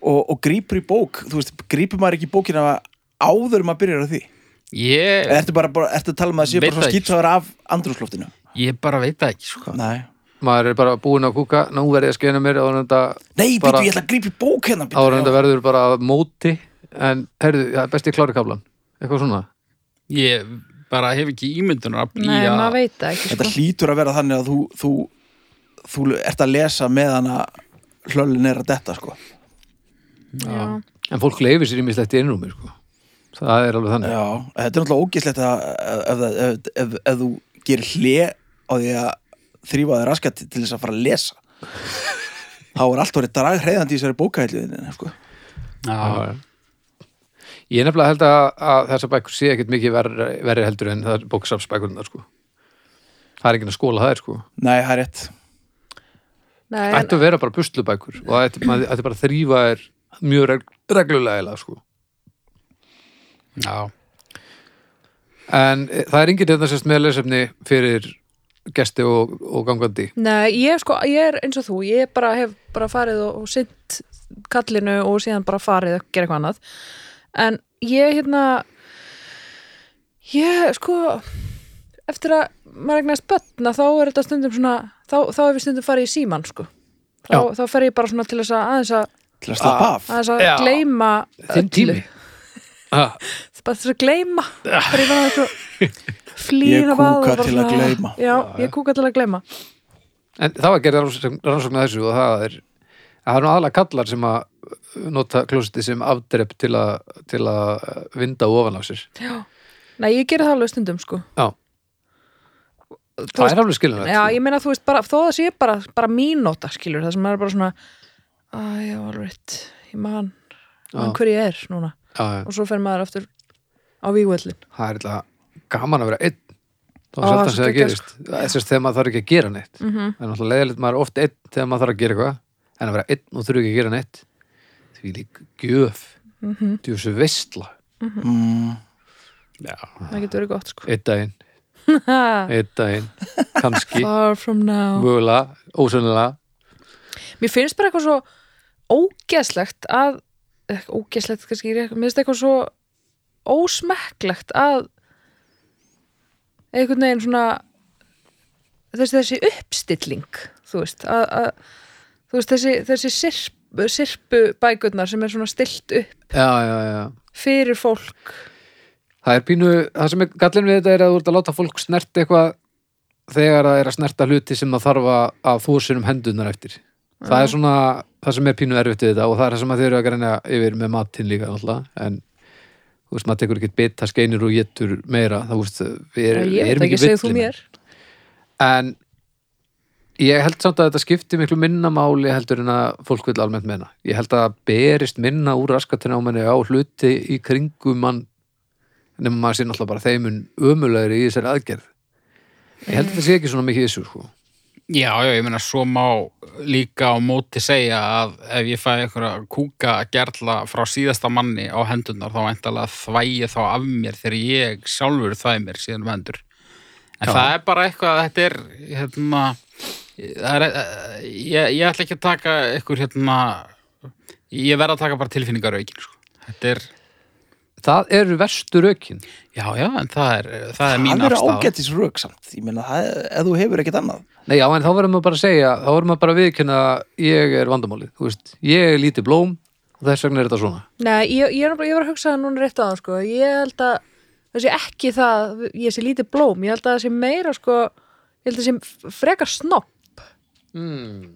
[SPEAKER 3] og, og grípur í bók þú veist, grípur maður ekki í bókina áður en maður byrjar á því
[SPEAKER 4] ég,
[SPEAKER 3] eða ertu bara, bara ertu að tala um að það sé
[SPEAKER 4] Veit
[SPEAKER 3] bara svona
[SPEAKER 4] það ekki.
[SPEAKER 3] skýtsaður af andrúsloftinu
[SPEAKER 4] ég bara veit það ekki sko.
[SPEAKER 3] nei,
[SPEAKER 2] Maður er bara búin að kúka, nú verði að skeina mér áður en þetta
[SPEAKER 3] nei,
[SPEAKER 2] Bara-
[SPEAKER 3] býtu, ég ætla að grípa í bók hérna bíddu,
[SPEAKER 2] áður en
[SPEAKER 3] já.
[SPEAKER 2] þetta verður bara að móti en heyrðu, það er besti klári kablan. Eitthvað svona.
[SPEAKER 4] Ég bara hef ekki ímyndunar að
[SPEAKER 1] nei,
[SPEAKER 4] blýja
[SPEAKER 1] maður veit það ekki
[SPEAKER 3] þetta
[SPEAKER 1] sko.
[SPEAKER 3] hlýtur að vera þannig að þú, þú, þú ert að lesa meðan að hlölin er að detta sko
[SPEAKER 1] Já.
[SPEAKER 2] En fólk leifir sér ímislegt í innrúmi, sko. Það er alveg þannig.
[SPEAKER 3] Já, þetta er náttúrulega ógislegt að ef, ef, ef, ef, ef þú gerir hlé á því að þrýfa þér raskat til þess að fara að lesa þá er allt orðið drag í þessari bókahælluðin sko.
[SPEAKER 4] Já,
[SPEAKER 2] Ég nefnilega held að, að þessar bækur sé ekkert mikið verri, verri heldur en það er bóksafsbækurnar, sko. Það er ekki að skóla það er, sko.
[SPEAKER 3] Nei, það er rétt
[SPEAKER 1] Nei,
[SPEAKER 2] Það
[SPEAKER 1] en-
[SPEAKER 2] ættu að vera bara buslubækur og það ætti maður- ætti bara að þrýfa þær mjög reg- reglulega, eiginlega, sko.
[SPEAKER 4] já,
[SPEAKER 2] En e, það er enginn þetta sérst með lesefni fyrir gesti og, og gangandi.
[SPEAKER 1] Nei, ég, sko, ég er eins og þú, ég bara hef bara farið og, og sint kallinu og síðan bara farið að gera eitthvað annað en ég hérna ég sko eftir að maður eignast bötna þá er þetta stundum svona þá, þá hef ég stundum farið í síman sko þá,
[SPEAKER 2] Já.
[SPEAKER 1] þá fer ég bara svona til þess að aðeins að,
[SPEAKER 3] Til að slappa af
[SPEAKER 1] aðeins að
[SPEAKER 2] Já.
[SPEAKER 1] gleyma
[SPEAKER 2] Þinn tími. Ah,
[SPEAKER 1] bara til þess að gleyma bara ég var að svo
[SPEAKER 3] Ég
[SPEAKER 1] flýna
[SPEAKER 3] kúka til að gleyma.
[SPEAKER 1] já, ég kúka til að gleyma
[SPEAKER 2] En það var gerðið rannsókn rannsókn að þessu og það er það er nú aðla kallar sem að uh, nota klósiti sem afdrepp til að til að uh, vinda ofan á sér Já,
[SPEAKER 1] Nei, ég gera það alveg stundum sko Þú
[SPEAKER 2] það er alveg skiljanlegt
[SPEAKER 1] Já,
[SPEAKER 2] sko.
[SPEAKER 1] ég meina þú veist bara, þó það sé bara, bara mínóta skilur, það sem maður er bara svona að já, alveg rétt, ég man man
[SPEAKER 2] Já.
[SPEAKER 1] hver ég er núna
[SPEAKER 2] Já, já.
[SPEAKER 1] og svo fer maður aftur á vígvöllin
[SPEAKER 2] Það er eitthvað gaman að vera einn þá
[SPEAKER 1] Ó,
[SPEAKER 2] er sjaldan sem
[SPEAKER 1] svo
[SPEAKER 2] það
[SPEAKER 1] geggjað, sko. Mhm.
[SPEAKER 2] gerist Það er sérst þegar maður þarf ekki að gera neitt mm -hmm. en alltaf leiðilegt maður er oft einn þegar maður þarf að gera eitthvað en
[SPEAKER 1] Mhm.
[SPEAKER 2] að vera einn og þurfi ekki að gera neitt því lík gjöf mm -hmm. því þessu veistla
[SPEAKER 3] mm,
[SPEAKER 4] Já.
[SPEAKER 1] það getur verið gott sko
[SPEAKER 2] Eitt daginn,
[SPEAKER 1] Ha,
[SPEAKER 2] eitt daginn kannski,
[SPEAKER 1] Far from now
[SPEAKER 2] vögulega, ósönlega
[SPEAKER 1] Mér finnst bara eitthvað svo ógeðslegt að eh, ógeðslegt kannski, er eitthvað- mér finnst eitthvað svo ósmekklegt að einhvern veginn svona þessi, þessi uppstilling þú veist, að, að, þú veist þessi, þessi sirpu, sirpu bækurnar sem er svona stilt upp
[SPEAKER 2] Já, já, já
[SPEAKER 1] fyrir fólk
[SPEAKER 2] Það er pínu, það sem er gallin við þetta er að þú ert að láta fólk snerta eitthvað þegar það er að snerta hluti sem það þarf að- að þú sinum hendunar eftir Það er
[SPEAKER 1] Mm.
[SPEAKER 2] svona, það sem er pínu erfitt við þetta og það er það sem að þeir eru að greina yfir með matinn líka alltaf, en þú veist, maður tekur ekkert bita, skeinir og getur meira, það veist, við
[SPEAKER 1] er,
[SPEAKER 2] erum,
[SPEAKER 1] ég
[SPEAKER 2] við
[SPEAKER 1] veit
[SPEAKER 2] erum
[SPEAKER 1] ekki,
[SPEAKER 2] ekki
[SPEAKER 1] segir þú
[SPEAKER 2] villimenn.
[SPEAKER 1] mér
[SPEAKER 2] en ég held samt að þetta skipti miklu minna máli heldur en að fólk vil almennt menna ég held að það berist minna úr raskatina á manni á hluti í kringum mann nema maður sé náttúrulega bara þeimun ömulegri í þessari aðgerð ég held að það sé ekki svona mikið í þessu sko.
[SPEAKER 4] já, já, ég meina svo má líka á móti segja að ef ég fæði einhverja kúka gerla frá síðasta manni á hendunar þá endalega þvægi þá af mér þegar ég sjálfur þvæði mér síðan um hendur en
[SPEAKER 2] Já.
[SPEAKER 4] það er bara eitthvað að þetta er hérna það er, eh, ég, ég ætla ekki að taka einhver hérna ég verð að taka bara tilfinningar aukin sko. þetta er,
[SPEAKER 2] það eru verstu rökin
[SPEAKER 4] já, já, en það er það er mín
[SPEAKER 3] það eru
[SPEAKER 4] afstafa
[SPEAKER 3] ágættis rök samt ég meina, það, ef þú hefur ekkert annað
[SPEAKER 2] Nei, já, en þá verðum við bara að segja, þá verðum við bara að viðkynna ég er vandamálið, þú veist ég er lítið blóm og þess vegna er þetta svona
[SPEAKER 1] Nei, ég, ég, er bara- ég var að hugsa það núna rétt á það sko. ég held að það sé ekki það ég sé lítið blóm, ég held að það sé meira sko, ég held að það sé frekar snopp
[SPEAKER 2] mm.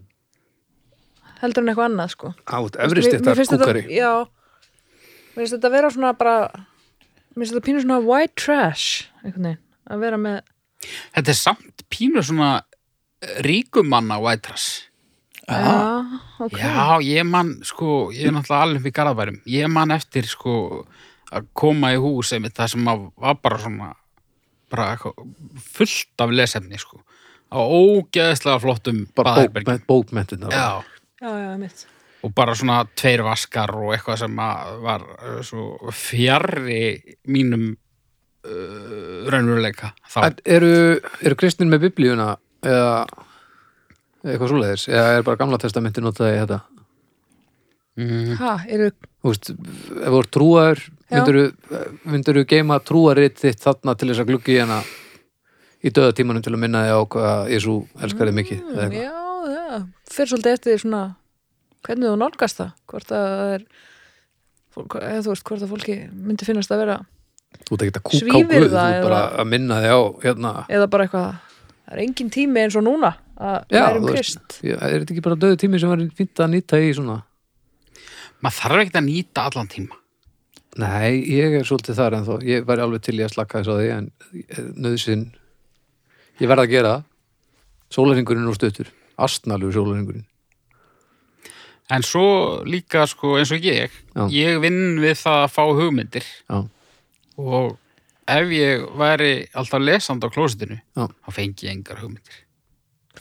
[SPEAKER 1] heldur en eitthvað annað sko.
[SPEAKER 2] Át,
[SPEAKER 1] Mér- mér
[SPEAKER 2] efristettar
[SPEAKER 1] finnst þetta-
[SPEAKER 2] kúkari
[SPEAKER 1] Já, mér finnst þetta að vera svona bara mér finnst þetta pínu svona white trash einhvern veginn, að vera með
[SPEAKER 4] þetta er samt pínu svona ríkumanna vætras
[SPEAKER 3] Aha.
[SPEAKER 1] Já, ok
[SPEAKER 4] Já, ég man, sko, ég er náttúrulega alveg upp í garðabærum, ég man eftir, sko, að koma í hús einmitt það sem að var bara svona, bara eitthvað, fullt af lesefni, sko, á ógeðslega flottum
[SPEAKER 2] bara
[SPEAKER 4] baðherbergjum.
[SPEAKER 2] bókment, bókmentin
[SPEAKER 4] Já,
[SPEAKER 1] já, já, mitt
[SPEAKER 4] og bara svona tveir vaskar og eitthvað sem að var uh, svo fjarri mínum uh, raunveruleika þá.
[SPEAKER 2] En eru, eru kristin með biblíuna eða eitthvað svoleiðis, eða er bara gamla testamenti notaði í þetta?
[SPEAKER 4] Mm,
[SPEAKER 1] Ha, eru,
[SPEAKER 2] Þú veist, ef þú ert trúar
[SPEAKER 1] Já.
[SPEAKER 2] myndirðu, myndirðu geima trúaritt þitt þarna til þess að gluggi hana í döðatímanum til að minna þig á hvað Jesú elskar þig mikið
[SPEAKER 1] Mm,
[SPEAKER 2] eða eitthvað.
[SPEAKER 1] já, já, fyrir svolítið eftir því svona hvernig þú nálgast það hvort að það er fólk, eða þú veist, hvort að fólki myndi finnast að vera
[SPEAKER 2] Þú ert ekki að kúka á
[SPEAKER 1] Svífur
[SPEAKER 2] guð, þú
[SPEAKER 1] það
[SPEAKER 2] ert bara
[SPEAKER 1] eða-
[SPEAKER 2] að minna þig á hérna,
[SPEAKER 1] eða bara eitthvað, það er engin tími eins og núna að
[SPEAKER 2] Já,
[SPEAKER 1] læra um
[SPEAKER 2] þú veist.
[SPEAKER 1] krist
[SPEAKER 2] Já, er þetta ekki bara döðatími sem var fínt að nýta í svona?
[SPEAKER 4] maður þarf ekkert að nýta allan tíma.
[SPEAKER 2] Nei, ég er svolítið þar en þó, ég væri alveg til í að slakka þess að því en nöðsinn ég verð að gera það sólarhingurinn og stöttur, astnalur sólarhingurinn
[SPEAKER 4] En svo líka, sko, eins og ég,
[SPEAKER 2] Já.
[SPEAKER 4] ég vinn við það að fá hugmyndir
[SPEAKER 2] Já,
[SPEAKER 4] og ef ég væri alltaf lesandi á klósitinu,
[SPEAKER 2] Já.
[SPEAKER 4] þá fengi ég engar hugmyndir.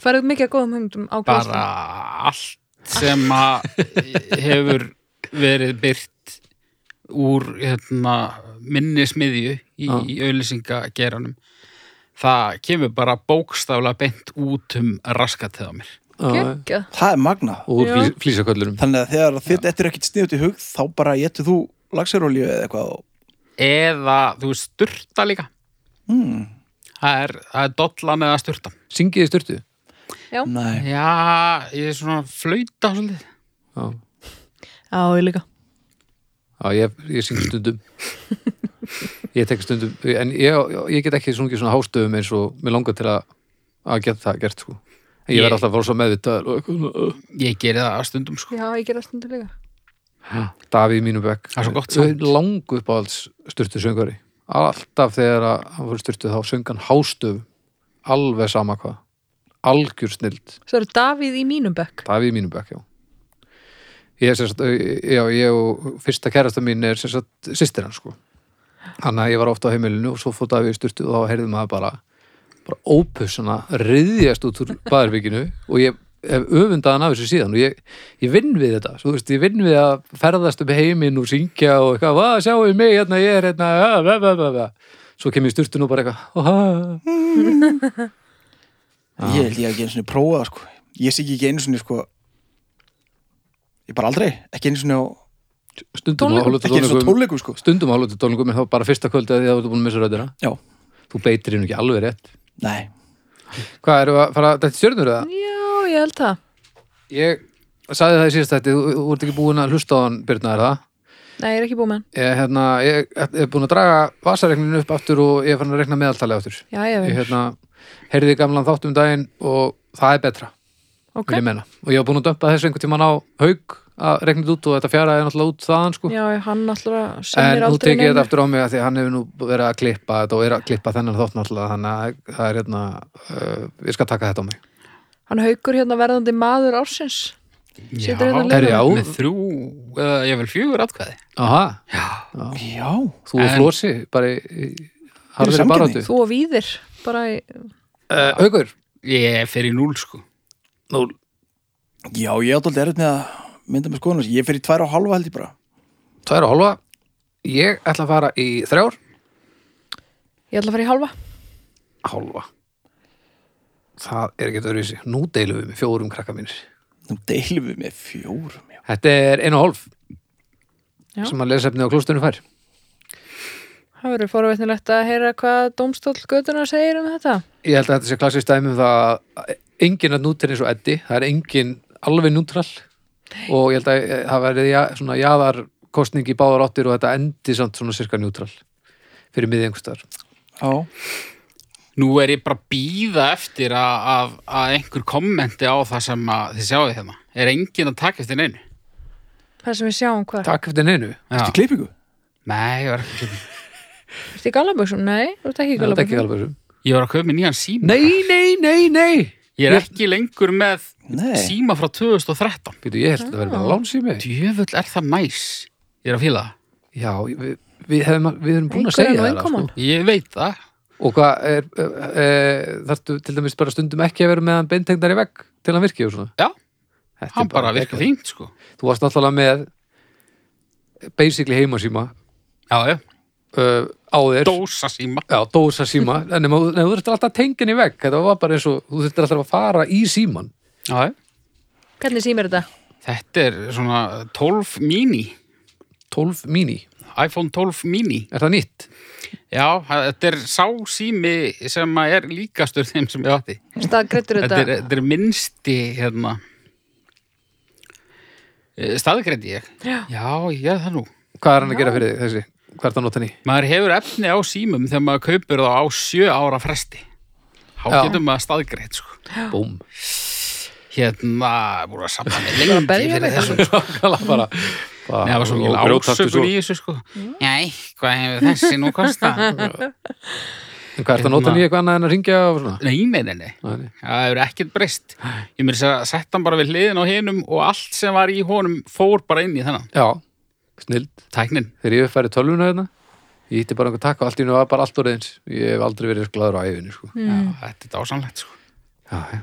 [SPEAKER 1] Færðu mikið að góðum hugmyndum á
[SPEAKER 4] Bara
[SPEAKER 1] Kristján?
[SPEAKER 4] allt sem að hefur verið byrt úr hérna, minni smiðju í,
[SPEAKER 2] Já.
[SPEAKER 4] í auðlýsingageranum. Það kemur bara bókstaflega beint út um raskatið á mér.
[SPEAKER 2] já,
[SPEAKER 1] Geggjað.
[SPEAKER 3] það er magna
[SPEAKER 2] og úr
[SPEAKER 1] Já.
[SPEAKER 2] flís, flísaköllunum
[SPEAKER 3] þannig að þegar þitt eftir ekkert sniðut í hug þá bara getur þú lagserolíu eða eitthvað og-
[SPEAKER 4] Eða, þú veist, styrta líka.
[SPEAKER 2] Hmm.
[SPEAKER 3] mm,
[SPEAKER 4] Það er, það er dollan eða styrta.
[SPEAKER 2] Syngiði styrtu
[SPEAKER 3] nei,
[SPEAKER 4] Já, ég er svona að flauta svolítið.
[SPEAKER 2] Já,
[SPEAKER 1] Já, ég líka
[SPEAKER 2] já ég, ég syngi stundum Ég tek stundum en ég, ég get ekki sungið svona hástöfum eins og mér langar til að, að geta það gert sko En ég
[SPEAKER 4] Ég-
[SPEAKER 2] verð alltaf að fara svo meðvitaður og eitthvað
[SPEAKER 4] Ég geri það að stundum sko.
[SPEAKER 1] Já, ég ger alltaf þetta líka
[SPEAKER 2] Davíð Mínubökk
[SPEAKER 4] Það er svo gott sound.
[SPEAKER 2] langu upp á alls styrtu söngari alltaf þegar að hann fyrir styrtu þá söng hann hástöf alveg sama hvað algjör snild,
[SPEAKER 1] Svo eru Davíð í mínum bekk
[SPEAKER 2] Davíð Mínubökk já. Ég, sérst, já, ég og fyrsta kærasta mín er sérst, sýstir hann sko hann að ég var ofta á heimilinu og svo fór Davíð í styrtu og þá heyrði maður bara, bara ópussana riðjast út úr baðarbygginu og ég hef öfundaðan af þessu síðan og ég, ég vinn við þetta, svo þú veist, ég vinn við að ferðast um heiminn og syngja og eitthvað, að sjáum mig, hérna, ég er hérna, að, að, að, að, að. svo kem ég styrtun og bara eitthvað, að,
[SPEAKER 3] ég held ég að ekki einu svona prófa það, sko. ég sé ekki einu svona sko. ég bara aldrei ekki einu svona,
[SPEAKER 2] stundum
[SPEAKER 1] Tónleikum.
[SPEAKER 2] hálfut
[SPEAKER 3] ekki einu svona tónleikum sko.
[SPEAKER 2] stundum hálfut tónleikum, en þá bara fyrsta kvöldi að því að þú ert búin að missa röddina,
[SPEAKER 3] já,
[SPEAKER 2] þú beitir hennu ekki alveg rétt.
[SPEAKER 3] nei,
[SPEAKER 2] Hvað, eru að fara þetta stjörnur eða?
[SPEAKER 1] Já, ég held það
[SPEAKER 2] Ég sagði það í síðast þetta, þú, þú ert ekki búin að hlusta á hann Byrna, er það?
[SPEAKER 1] Nei, ég er ekki búið með hann
[SPEAKER 2] Ég, hérna, ég er búin að draga vasareikninu upp aftur og ég er fann að reikna meðaltalið aftur.
[SPEAKER 1] Já, ég
[SPEAKER 2] Ég
[SPEAKER 1] veit,
[SPEAKER 2] hérna, heyrði gamlan þátt um daginn og það er betra,
[SPEAKER 1] ok
[SPEAKER 2] vil ég menna. Og ég var búin að dömpa þessu einhvern tímann á haug að reikna þetta út og þetta fjara er náttúrulega út þaðan sko.
[SPEAKER 1] Já, hann alltaf
[SPEAKER 2] En
[SPEAKER 1] semir
[SPEAKER 2] nú
[SPEAKER 1] aldrei
[SPEAKER 2] tek ég
[SPEAKER 1] neinu.
[SPEAKER 2] þetta aftur á mig að því að hann hefur nú verið að klippa þetta og er að klippa þennan þátt náttúrulega þannig að það er hérna, uh, ég skal taka þetta á mig.
[SPEAKER 1] Hann haukur hérna verðandi maður ársins
[SPEAKER 4] Já,
[SPEAKER 1] Situr hérna
[SPEAKER 2] Herri, já.
[SPEAKER 4] með þrjú, eða ég vel fjögur atkvæði.
[SPEAKER 2] Aha,
[SPEAKER 3] já
[SPEAKER 2] þú og
[SPEAKER 4] En-
[SPEAKER 2] Flósi, bara í, í harðri
[SPEAKER 3] samkeppni.
[SPEAKER 2] baráttu.
[SPEAKER 1] Þú og víðir bara í...
[SPEAKER 2] Uh, Haugur,
[SPEAKER 4] Ég fer í núl, sko.
[SPEAKER 2] nú,
[SPEAKER 3] já, ég átti aldrei erut með að mynda með skoðunar ég fer í tvær og halva held ég bara
[SPEAKER 2] tvær og hálfa. Ég ætla að fara í þrjár.
[SPEAKER 1] Ég ætla að fara í hálfa
[SPEAKER 2] hálfa það er ekkert öðruvísi, nú deilum við með fjórum krakka mínir,
[SPEAKER 3] nú deilum við með fjórum já.
[SPEAKER 2] þetta er einu og hálf
[SPEAKER 1] Já.
[SPEAKER 2] sem að lesefnið á klóstunum fær
[SPEAKER 1] Það verður forveitnilegt að heyra hvað dómstóll götuna segir um þetta
[SPEAKER 2] ég held að þetta sé klassist dæmi um það að enginn að nútir eins og eddi, það er enginn alveg nútral og ég held að eh, það verði ja, svona jaðar kostning í báðar áttir og þetta endi samt svona sirka nútral fyrir miðið einhverstaðar
[SPEAKER 3] Já.
[SPEAKER 4] Nú er ég bara að býða eftir að, að, að einhver kommenti á það sem að þið sjáðu hérna. Er enginn að taka eftir neinu?
[SPEAKER 1] Það sem við sjáum hvað
[SPEAKER 2] takk eftir neinu,
[SPEAKER 4] Já.
[SPEAKER 3] Í klippingu?
[SPEAKER 4] Nei, ég var ekki að klipa.
[SPEAKER 1] Ertu í galaböksum? Nei, þú ert ekki í
[SPEAKER 2] það er ekki
[SPEAKER 1] galaböksum
[SPEAKER 2] alveg þessu
[SPEAKER 4] Ég var að köpa mér nýjan síma.
[SPEAKER 2] nei, nei, nei, nei
[SPEAKER 4] Ég er ekki lengur með
[SPEAKER 3] Nei,
[SPEAKER 4] síma frá 2013.
[SPEAKER 2] Býtu, ég held að þetta verði bara lánsými
[SPEAKER 4] Djöfull er það næs. Ég er að fíla það.
[SPEAKER 2] já, við, við, hefum, við erum búin
[SPEAKER 1] Einhver
[SPEAKER 2] að
[SPEAKER 1] er
[SPEAKER 2] segja
[SPEAKER 1] nú
[SPEAKER 2] það sko.
[SPEAKER 1] innkoman.
[SPEAKER 4] Ég veit það.
[SPEAKER 2] Og hvað er, e, þarftu til dæmis bara stundum ekki að vera með hann beintengnar í vegg til hann virki og svona?
[SPEAKER 4] Já,
[SPEAKER 2] Þetta er
[SPEAKER 4] hann bara virka
[SPEAKER 2] geggjað.
[SPEAKER 4] fínt, sko.
[SPEAKER 2] Þú varst náttúrulega með eh, basically heimasíma
[SPEAKER 4] Já, já.
[SPEAKER 2] uh, á þér.
[SPEAKER 4] Dósa síma.
[SPEAKER 2] Já, dósa síma. en nema, nei, þú þurftir alltaf að tengja hann í vegg. Þetta var bara eins og þú þurftir alltaf að fara í síman.
[SPEAKER 4] Já, já.
[SPEAKER 1] Hvernig símir þetta?
[SPEAKER 4] Þetta er svona 12 mini.
[SPEAKER 2] 12 mini.
[SPEAKER 4] iPhone 12 mini.
[SPEAKER 2] Er það nýtt?
[SPEAKER 4] Já, þetta er sá sími sem að er líkastur þeim sem ég átti.
[SPEAKER 1] Staðgreittur
[SPEAKER 4] Þetta er,
[SPEAKER 1] þetta?
[SPEAKER 4] þetta er minnsti, hérna, staðgreiti ég.
[SPEAKER 1] Já.
[SPEAKER 4] Já, ég er það nú.
[SPEAKER 2] Hvað er hann að gera fyrir þig, þessi? Hvað er það að nota hann í?
[SPEAKER 4] Maður hefur efni á símum þegar maður kaupir þá á sjö ára fresti. Há
[SPEAKER 2] Já.
[SPEAKER 4] getum maður staðgreit, sko.
[SPEAKER 2] Búm.
[SPEAKER 4] Hérna, búin að samla með
[SPEAKER 1] að berja
[SPEAKER 4] lengi
[SPEAKER 1] mig.
[SPEAKER 4] fyrir þessum.
[SPEAKER 2] Nákvæmlega bara.
[SPEAKER 4] Nei, það var svo
[SPEAKER 2] Og
[SPEAKER 4] mikil
[SPEAKER 2] grjóthartur
[SPEAKER 4] ásökun í þessu, sko. Nei, hvað hefur þessi nú kosta?
[SPEAKER 2] En Hvað er það að nota hann í eitthvað annað en að ringja og svona?
[SPEAKER 4] nei, nei, nei, Hérna. nei.
[SPEAKER 2] Nei, nei.
[SPEAKER 4] Það hefur ekkert breyst. Ég myndi að setja hann bara við hliðin á hinum og allt sem var í honum fór bara inn í þennan.
[SPEAKER 2] Já, snild.
[SPEAKER 4] Tæknin.
[SPEAKER 2] þegar ég uppfæri tölvuna hérna ég hitti bara einhver takk og allt í nú var bara allt orðið eins ég hef aldrei verið glæður á æfinu sko.
[SPEAKER 4] Já, þetta er dásamlegt, sko.
[SPEAKER 2] já, já.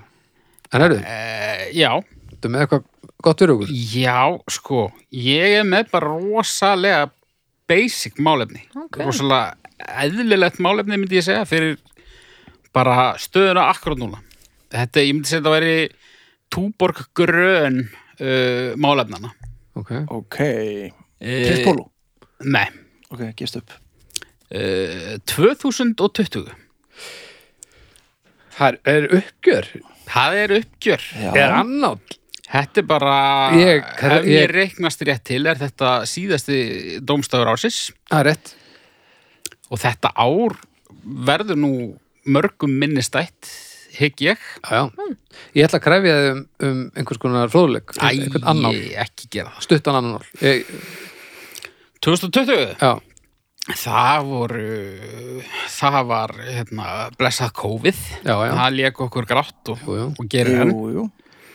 [SPEAKER 2] en herðu,
[SPEAKER 4] Uh, já,
[SPEAKER 2] þetta með eitthvað gott fyrir okkur
[SPEAKER 4] já, sko, ég er með bara rosalega basic málefni.
[SPEAKER 1] Ok.
[SPEAKER 4] Rosalega eðlilegt málefni, myndi ég segja, fyrir bara stöðuna akkurat núna. Þetta, ég myndi segja, þetta væri túborg grön uh, málefnana.
[SPEAKER 2] ok,
[SPEAKER 3] ok
[SPEAKER 4] Uh,
[SPEAKER 3] Kist bólu?
[SPEAKER 4] Nei,
[SPEAKER 3] Ok, gist upp
[SPEAKER 4] uh, 2020.
[SPEAKER 2] það er uppgjör
[SPEAKER 4] Það er uppgjör.
[SPEAKER 3] Já,
[SPEAKER 2] er annátt
[SPEAKER 4] Þetta er bara,
[SPEAKER 2] Ég-
[SPEAKER 4] ef
[SPEAKER 2] ég-
[SPEAKER 4] ég reiknast rétt til, er þetta síðasti dómstafur ásins
[SPEAKER 2] það er rétt
[SPEAKER 4] og þetta ár verður nú mörgum minnistætt, hygg ég.
[SPEAKER 2] já, já. ég ætla að krefja þið um, um einhvers konar fróðleik
[SPEAKER 4] Mm. Æ,
[SPEAKER 2] einhvern annál,
[SPEAKER 4] ekki gera það.
[SPEAKER 2] stuttan annál ég,
[SPEAKER 4] 2020,
[SPEAKER 2] já,
[SPEAKER 4] það voru, það var, hérna, blessað COVID.
[SPEAKER 2] já, já,
[SPEAKER 4] Það lék okkur grátt og,
[SPEAKER 2] jú, jú,
[SPEAKER 4] og gerir enn.
[SPEAKER 3] jú, jú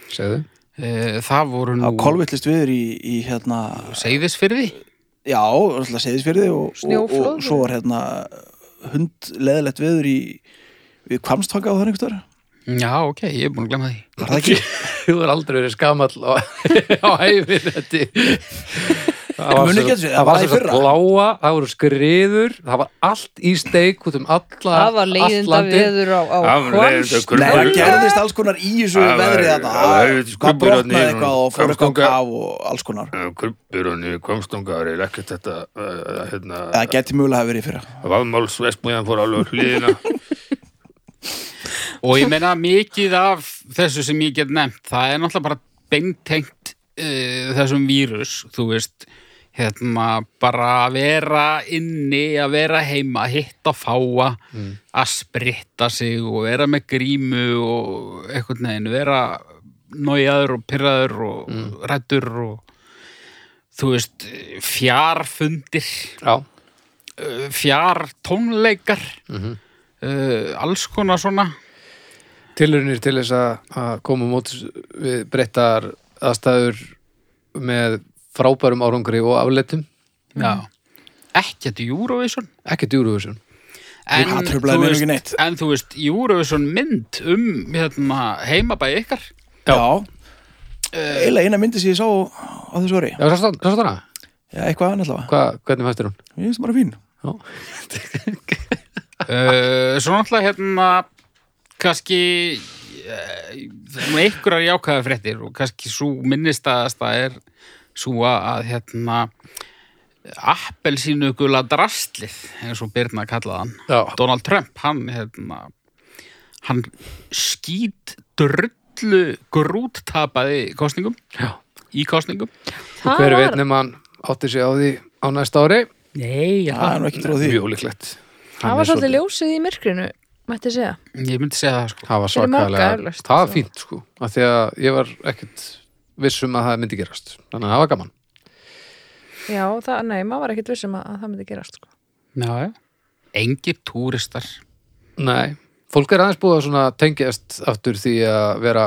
[SPEAKER 2] segðu
[SPEAKER 4] Eh, Það voru
[SPEAKER 3] Það
[SPEAKER 4] nú
[SPEAKER 3] kolvillist viður í, í hérna
[SPEAKER 4] seyðisfyrði.
[SPEAKER 3] Já, alltaf segðisfyrði og, og,
[SPEAKER 1] Snjóflóð.
[SPEAKER 3] og svo var hérna hundleðilegt viður í við kvamstfanga á þannig einhver
[SPEAKER 4] Já, ok, ég er búin að glemma því.
[SPEAKER 3] Var það ekki?
[SPEAKER 2] Þú er aldrei verið skamall á, á æfir þetta. Það
[SPEAKER 3] Muni
[SPEAKER 2] svo-
[SPEAKER 3] ekki eftir þessu, það
[SPEAKER 2] það
[SPEAKER 3] var
[SPEAKER 2] var
[SPEAKER 3] í
[SPEAKER 2] svo
[SPEAKER 3] fyrra.
[SPEAKER 2] bláa, það voru skriður, það var allt í steik út um alla
[SPEAKER 1] Það var leiðinda
[SPEAKER 2] allt landið.
[SPEAKER 1] viður á, á
[SPEAKER 5] Það var leiðinda
[SPEAKER 1] Hvolsvelli.
[SPEAKER 5] kurr-
[SPEAKER 3] Nei, það
[SPEAKER 5] Nei.
[SPEAKER 3] gerðist alls konar í þessu
[SPEAKER 5] Það var-
[SPEAKER 3] veðrið þarna.
[SPEAKER 5] það var helvitis
[SPEAKER 3] Það
[SPEAKER 5] kubbur þarna í
[SPEAKER 3] brotnaði
[SPEAKER 5] honum.
[SPEAKER 3] eitthvað og fór eitthvað á
[SPEAKER 5] Komstanga.
[SPEAKER 3] kaf og alls konar
[SPEAKER 5] Kumpur Eh, og niður komstunga er eiginlega ekkert þetta uh, hérna,
[SPEAKER 3] Það geti mjögulega hafa verið í fyrra
[SPEAKER 5] vafmálsvesmúðan fór alveg á hliðina
[SPEAKER 4] Og ég meina mikið af þessu sem ég get nefnt, það er náttúrulega bara beintengt uh, þessum vírus, þú veist, hérna, bara að vera inni, að vera heima, að hitta fáa, að spritta sig og vera með grímu og eitthvað neginn, vera nójaður og pyrraður og mm. rættur og þú veist, fjarfundir,
[SPEAKER 2] Já,
[SPEAKER 4] fjartónleikar, mm
[SPEAKER 2] Mhm.
[SPEAKER 4] alls konar svona.
[SPEAKER 2] tilurinnir til þess að- að koma mót við breyttar aðstæður með frábærum árangri og afleitum,
[SPEAKER 3] Mm.
[SPEAKER 4] Já. Ekkert Eurovision.
[SPEAKER 2] ekki djúruvísun.
[SPEAKER 4] En,
[SPEAKER 3] Það truflaði
[SPEAKER 4] þú
[SPEAKER 3] mig nú
[SPEAKER 4] veist-
[SPEAKER 3] ekki neitt.
[SPEAKER 4] En þú veist, Eurovision mynd um hérna, heimabæði ykkar.
[SPEAKER 3] Já Eiginlega eina myndi sem ég sá á þessu orði
[SPEAKER 2] Já, sástu sástu hana?
[SPEAKER 3] Já, eitthvað annað allavega
[SPEAKER 2] Hva, hvernig fæstir hún?
[SPEAKER 3] Ég finnst það bara fín
[SPEAKER 2] Já.
[SPEAKER 4] Uh, svo náttúrulega hérna, kannski uh, einhverjar jákvæða fréttir og kannski svo minnistaðasta er svo að hérna, appelsínu gula drastlið, eins og Birna kallaði hann.
[SPEAKER 2] Já.
[SPEAKER 4] Donald Trump, hann hérna, hann skýt drullu grúttapaði kostningum,
[SPEAKER 2] Já.
[SPEAKER 4] í kostningum
[SPEAKER 2] Og
[SPEAKER 1] Það
[SPEAKER 2] hver veit
[SPEAKER 1] var-
[SPEAKER 2] nema hann átti sig á því á næsta ári?
[SPEAKER 4] Nei,
[SPEAKER 3] Það er nú ekki tróð því
[SPEAKER 2] Mjög líklegt.
[SPEAKER 1] Það
[SPEAKER 2] Hann er
[SPEAKER 1] var svolítið ljósið í myrkrinu, mætti segja.
[SPEAKER 4] Ég myndi segja það sko
[SPEAKER 2] Það var
[SPEAKER 1] Fyrir marga
[SPEAKER 2] svakalega,
[SPEAKER 1] eflaust,
[SPEAKER 2] það var
[SPEAKER 1] svo.
[SPEAKER 2] fínt sko af því að ég var ekkert vissum að það myndi gerast, þannig að það var gaman
[SPEAKER 1] Já, það, nei, maður var ekkert vissum að, að það myndi gerast, sko.
[SPEAKER 4] Já, Engir túristar
[SPEAKER 2] Nei, fólk er aðeins búið að svona tengjast aftur því að vera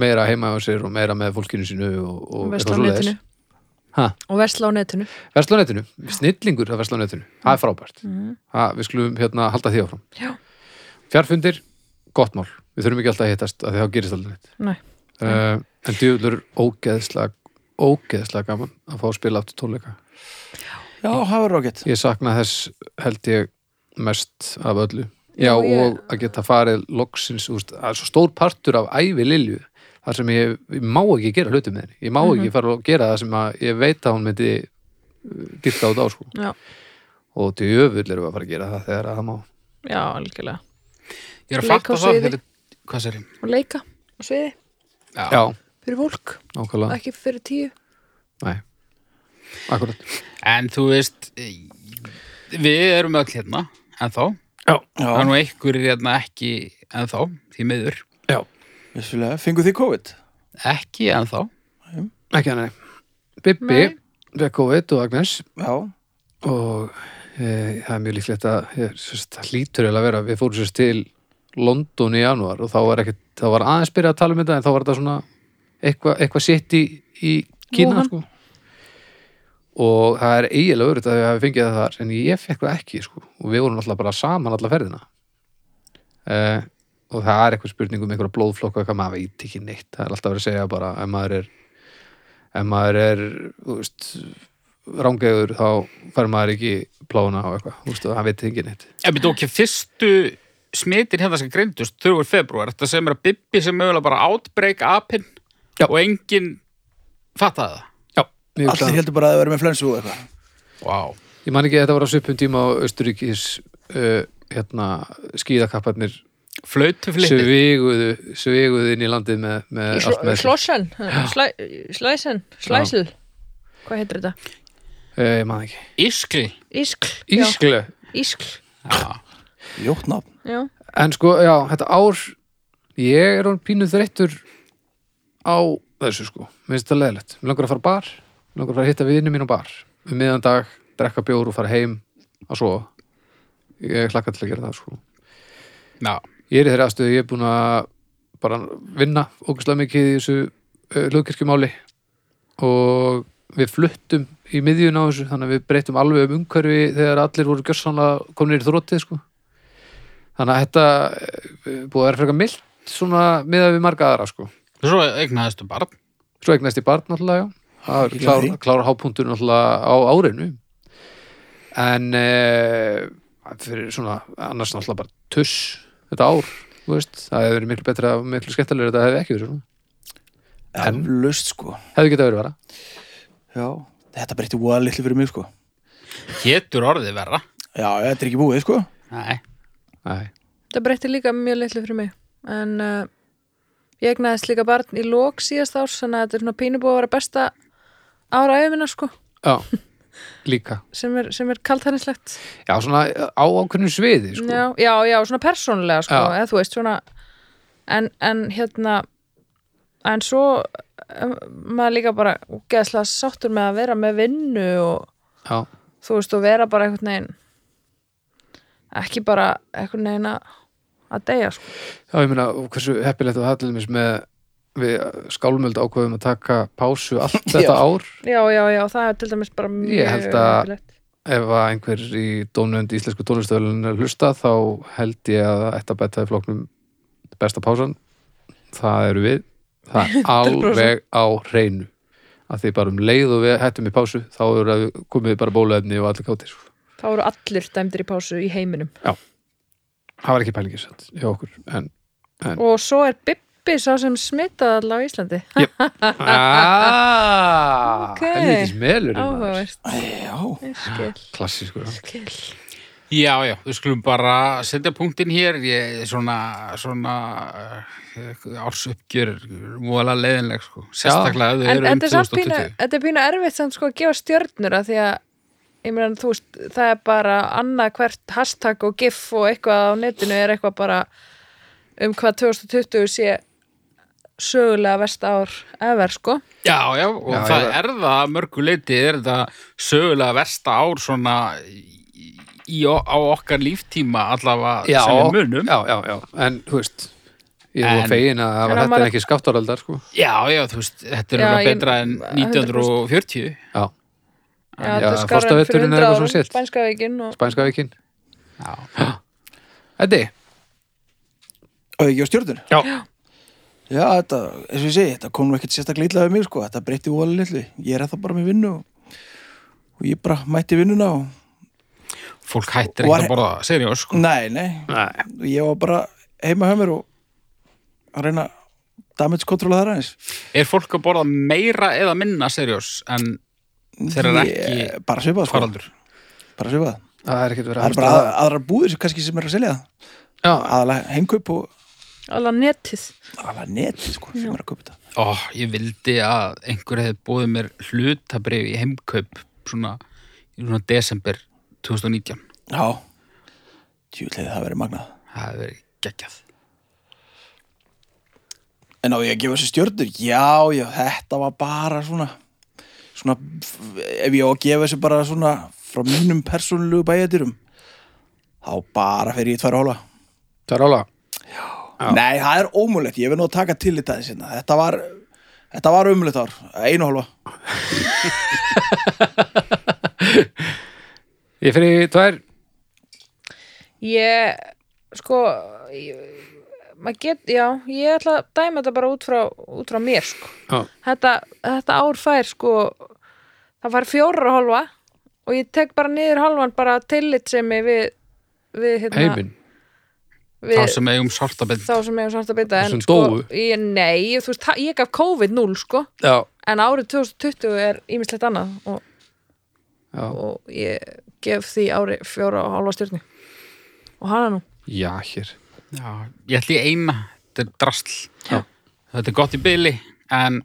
[SPEAKER 2] meira heima á sér og meira með fólkinu sínu og, og
[SPEAKER 1] Versla á netinu.
[SPEAKER 2] Ha?
[SPEAKER 1] Og versla á netinu.
[SPEAKER 2] Versla á netinu, snillingur að versla á netinu það er frábært, það, við skulum hérna halda því áfram
[SPEAKER 1] Mm. Já.
[SPEAKER 2] Fjárfundir, gott mál, við þurfum ekki alltaf að hittast af því þá gerist aldrei neitt
[SPEAKER 1] Nei.
[SPEAKER 2] uh, en djúðlur ógeðslega ógeðslega gaman að fá að spila aftur tónleika
[SPEAKER 3] Já, það var rákett
[SPEAKER 2] Ég sakna þess held ég mest af öllu. Já,
[SPEAKER 1] Já, ég-
[SPEAKER 2] og að geta farið loksins, úst, það er svo stór partur af ævi Lilju, þar sem ég, ég má ekki gera hlutum með henni. Ég má
[SPEAKER 1] Mhm.
[SPEAKER 2] ekki fara að gera það sem að ég veit að hún myndi dyrka út á sko.
[SPEAKER 1] Já,
[SPEAKER 2] Og til öfull erum við að fara að gera það þegar að það má.
[SPEAKER 1] já, algjörlega.
[SPEAKER 4] Ég er að
[SPEAKER 1] Leika á
[SPEAKER 4] fatta það
[SPEAKER 1] sviði.
[SPEAKER 4] þegar Hvað sér ég?
[SPEAKER 1] Og leika á sviði
[SPEAKER 2] Já,
[SPEAKER 1] fyrir fólk,
[SPEAKER 2] nákvæmlega.
[SPEAKER 1] ekki fyrir tíu.
[SPEAKER 2] Nei, akkurat.
[SPEAKER 4] En þú veist eh, Við erum öll hérna ennþá
[SPEAKER 3] Já,
[SPEAKER 4] Það er nú einhverjir hérna ekki ennþá Því miður
[SPEAKER 3] vissulega, fenguð þið COVID?
[SPEAKER 4] Ekki ennþá
[SPEAKER 2] Ekki hann, nei. Bibbi,
[SPEAKER 1] Nei.
[SPEAKER 2] Vekovit og Agnes
[SPEAKER 3] Já,
[SPEAKER 2] og e, það er mjög líklegt að e, sérst, það hlýtur eiginlega að vera, við fórum sérst til London í janúar og þá var, ekkit, þá var aðeins byrjað að tala um þetta en þá var þetta svona eitthvað eitthva sitt í, í Kína
[SPEAKER 1] Wuhan.
[SPEAKER 2] sko. og það er eiginlega örugt að við hafi fengið það þar en ég fekk það ekki sko. og við vorum alltaf bara saman alla ferðina e, og það er eitthvað spurning um einhverja blóðflokka hvað maður veit ekki neitt það er alltaf verið að segja bara ef maður er ef maður er þú veist, rángeður þá fær maður ekki plána á eitthvað, þú veist, og hann veit ekki neitt
[SPEAKER 4] Ef við tókja fyrstu smitin hérna sem greindust 3. februar, þetta sem er að Bibbi sem mögulega bara outbreak apinn
[SPEAKER 2] Já.
[SPEAKER 4] og enginn fattaði það.
[SPEAKER 2] Já, ég, hugsa-
[SPEAKER 3] allir heldur bara að það verið með flensu og eitthvað
[SPEAKER 4] Wow.
[SPEAKER 2] ég man ekki að þetta var á svipum tíma á Östuríkis uh, hérna, skíðakapparnir
[SPEAKER 4] Flautuflipi.
[SPEAKER 2] sveiguðu, sveiguðu inn í landið með, með allt með sér.
[SPEAKER 1] Slossan, slæsen, slæsel. Hvað heitir þetta?
[SPEAKER 2] uh, ég man ekki
[SPEAKER 4] Ískli.
[SPEAKER 1] Ískl. já,
[SPEAKER 2] Ísklu,
[SPEAKER 1] Ískl,
[SPEAKER 3] Ljótt nafn
[SPEAKER 1] já.
[SPEAKER 2] en sko, já, þetta ár ég er hún pínu þreyttur á þessu sko mér finnst það leðilegt, mér langar að fara á bar mér langar að fara að hitta viðinu mín á bar um miðan dag, drekka bjór og fara heim að sofa ég hlakka til að gera það sko
[SPEAKER 4] Já.
[SPEAKER 2] ég er í þeirra aðstöðu, ég er búin að bara vinna ógæslega mikið í þessu uh, lögkirkjumáli og við fluttum í miðjun á þessu, þannig að við breyttum alveg um umhverfi þegar allir voru gjörsanlega komnir í þrótið sko þannig að þetta eh, búið að vera frekar mild svona miðað við marga aðra sko
[SPEAKER 4] Svo eignaðistu barn.
[SPEAKER 2] svo eignast ég barn náttúrulega, já það er
[SPEAKER 3] Ekki
[SPEAKER 2] klár,
[SPEAKER 3] gleyma því.
[SPEAKER 2] klára hápunktur náttúrulega á árinu en e, fyrir svona annars náttúrulega bara tuss þetta ár, þú veist, það hefði verið miklu betra og miklu skemmtilegur þetta hefði ekki verið svona En-
[SPEAKER 3] Eflaust, sko
[SPEAKER 2] hefði getað verið vera
[SPEAKER 3] Já, þetta breytti voða litlu fyrir mig, sko
[SPEAKER 4] Getur orðið verra.
[SPEAKER 3] Já, þetta er ekki búið, sko
[SPEAKER 4] Nei.
[SPEAKER 2] Nei.
[SPEAKER 1] Það breytti líka mjög litlu fyrir mig en uh, ég egnaðist líka barn í lók síðast árs þannig að þetta er svona pínubúið að vera besta ára æfumina sko
[SPEAKER 2] já, líka
[SPEAKER 1] sem er, sem er kaltænislegt
[SPEAKER 2] já, svona eh, á ákveðnum sviði sko.
[SPEAKER 1] já, já, já, svona persónulega sko
[SPEAKER 2] Já.
[SPEAKER 1] eða þú veist svona en, en hérna en svo um, maður líka bara úgeðslega sáttur með að vera með vinnu og
[SPEAKER 2] já,
[SPEAKER 1] þú veist og vera bara einhvern veginn ekki bara einhvern veginn að að deyja sko
[SPEAKER 2] já, ég meina og hversu heppilegt og það til dæmis með við skálmöld ákveðum að taka pásu allt þetta ár
[SPEAKER 1] já, já, já, það er til dæmis bara mjög
[SPEAKER 2] Ég held að-
[SPEAKER 1] heppilegt.
[SPEAKER 2] ef að einhver í dónund íslensku tónlistöðlun er að hlusta þá held ég að þetta betta í flóknum besta pásan það eru við, það er
[SPEAKER 1] 100%.
[SPEAKER 2] alveg á hreinu að því bara um leið og við hættum í pásu þá eru að komið bara bóluefni og allir káttir sko.
[SPEAKER 1] Þá eru allir dæmdir í pásu í heiminum.
[SPEAKER 2] það var ekki pælingis hjá okkur en
[SPEAKER 1] Og svo er Bibbi sá sem smitaði allavega í Íslandi.
[SPEAKER 2] Ah! aaaah
[SPEAKER 1] Ok.
[SPEAKER 2] helvítis melur
[SPEAKER 1] Áhugavert.
[SPEAKER 3] Já,
[SPEAKER 1] Ég skil,
[SPEAKER 2] klassískur
[SPEAKER 1] skil.
[SPEAKER 4] Já, já, við skulum bara setja punktinn hér. Ég, svona, svona eh, ársuppgjör er voðalega leiðinleg, sko. Sérstaklega ef þau
[SPEAKER 1] En
[SPEAKER 4] eru um
[SPEAKER 1] þetta er samt pínu,
[SPEAKER 4] 2020.
[SPEAKER 1] þetta er pínu erfitt samt sko að gefa stjörnur að því að ég meðan þú veist, það er bara annað hvert hashtag og gif og eitthvað á netinu er eitthvað bara um hvað 2020 sé sögulega vest ár ever sko.
[SPEAKER 4] Já, já, og
[SPEAKER 2] Já,
[SPEAKER 4] það
[SPEAKER 2] ég-
[SPEAKER 4] er það að mörgu leiti er þetta sögulega versta ár svona í, í- á okkar líftíma allavega
[SPEAKER 2] já,
[SPEAKER 4] sem við munum.
[SPEAKER 2] já, já, já, en þú veist ég
[SPEAKER 4] En-
[SPEAKER 2] var fegin að
[SPEAKER 1] En
[SPEAKER 2] var
[SPEAKER 1] á
[SPEAKER 2] þetta
[SPEAKER 1] maður-
[SPEAKER 2] er ekki skaptáraldar sko
[SPEAKER 4] Já, já, þú veist, þetta er
[SPEAKER 1] Já,
[SPEAKER 4] örugglega
[SPEAKER 1] ég-
[SPEAKER 4] betra en 1940.
[SPEAKER 2] já,
[SPEAKER 1] Já, þetta
[SPEAKER 2] Já,
[SPEAKER 1] er skárra en fyrir
[SPEAKER 2] frostaveturinn er
[SPEAKER 1] 100
[SPEAKER 2] eitthvað svona
[SPEAKER 1] árum,
[SPEAKER 2] shit.
[SPEAKER 1] Spænska veikin og
[SPEAKER 2] spænska vikinn
[SPEAKER 4] Já.
[SPEAKER 2] Eddi,
[SPEAKER 3] og ekki á stjórnur
[SPEAKER 2] Já.
[SPEAKER 3] Já, þetta, eins og ég segi, þetta kom nú ekkert sérstaklega illa við mig, sko Þetta breytti voða litlu Ég er það bara með vinnu og, og ég bara mætti vinnuna og
[SPEAKER 4] Fólk hættir
[SPEAKER 3] Var-
[SPEAKER 4] ekki að borða seriós, sko.
[SPEAKER 3] Nei, nei,
[SPEAKER 2] Nei.
[SPEAKER 3] ég var bara heima hjá mér og að reyna að damage kontrola þar aðeins
[SPEAKER 4] Er fólk að borða meira eða minna seriós en þeir eru ekki
[SPEAKER 3] Ég- Bara svipað, sko
[SPEAKER 4] faraldur?
[SPEAKER 3] Bara svipað
[SPEAKER 2] það er ekkert verið
[SPEAKER 3] Það
[SPEAKER 2] að
[SPEAKER 3] er bara að, aðrar búðir sem kannski sem er að selja það
[SPEAKER 2] Já,
[SPEAKER 3] Aðalega heimkaup og
[SPEAKER 1] alveg netið.
[SPEAKER 3] aðalega neti, sko, sem er að kaupa þetta
[SPEAKER 4] Ó, ég vildi að einhver hefði búið mér hlutabrif í heimkaup svona, í svona desember 2019.
[SPEAKER 3] Já Tjúlega það verið magnað
[SPEAKER 4] Það hefði verið geggjað.
[SPEAKER 3] En á ég að gefa þessu stjörnur? Já, já, þetta var bara svona svona, f- ef ég á að gefa þessu bara svona frá mínum persónulegu bæjadýrum þá bara fer ég í tvær hóla
[SPEAKER 2] það er ála
[SPEAKER 3] Nei, það er ómulegt, ég vil nú að taka til í það sinna. þetta var, þetta var umulegt ár einu hálfa,
[SPEAKER 2] Ég fyrir tvær,
[SPEAKER 1] Ég, sko, ég, maður get, já, ég ætla að dæma þetta bara út frá, út frá mér, sko.
[SPEAKER 2] Já.
[SPEAKER 1] Þetta, þetta ár fær, sko, það fær fjórar og hálfa og ég tek bara niður hálfan bara tillit sem ég við, við, hérna,
[SPEAKER 2] heiminn
[SPEAKER 1] við,
[SPEAKER 4] Þá sem eigum sortabind.
[SPEAKER 1] þá sem ég svart að bytta.
[SPEAKER 2] Þessum
[SPEAKER 1] en, sko,
[SPEAKER 2] dóu.
[SPEAKER 1] Ég, nei, þú veist, það- ég gaf COVID 0, sko,
[SPEAKER 2] Já,
[SPEAKER 1] en árið 2020 er ímislegt annað og,
[SPEAKER 2] já,
[SPEAKER 1] og ég gef því ári fjóra og hálfa stjörni. Og hana nú.
[SPEAKER 2] já, hér
[SPEAKER 4] Já, ég ætli í eina, þetta er drasl
[SPEAKER 2] Já.
[SPEAKER 4] Þetta er gott í byli en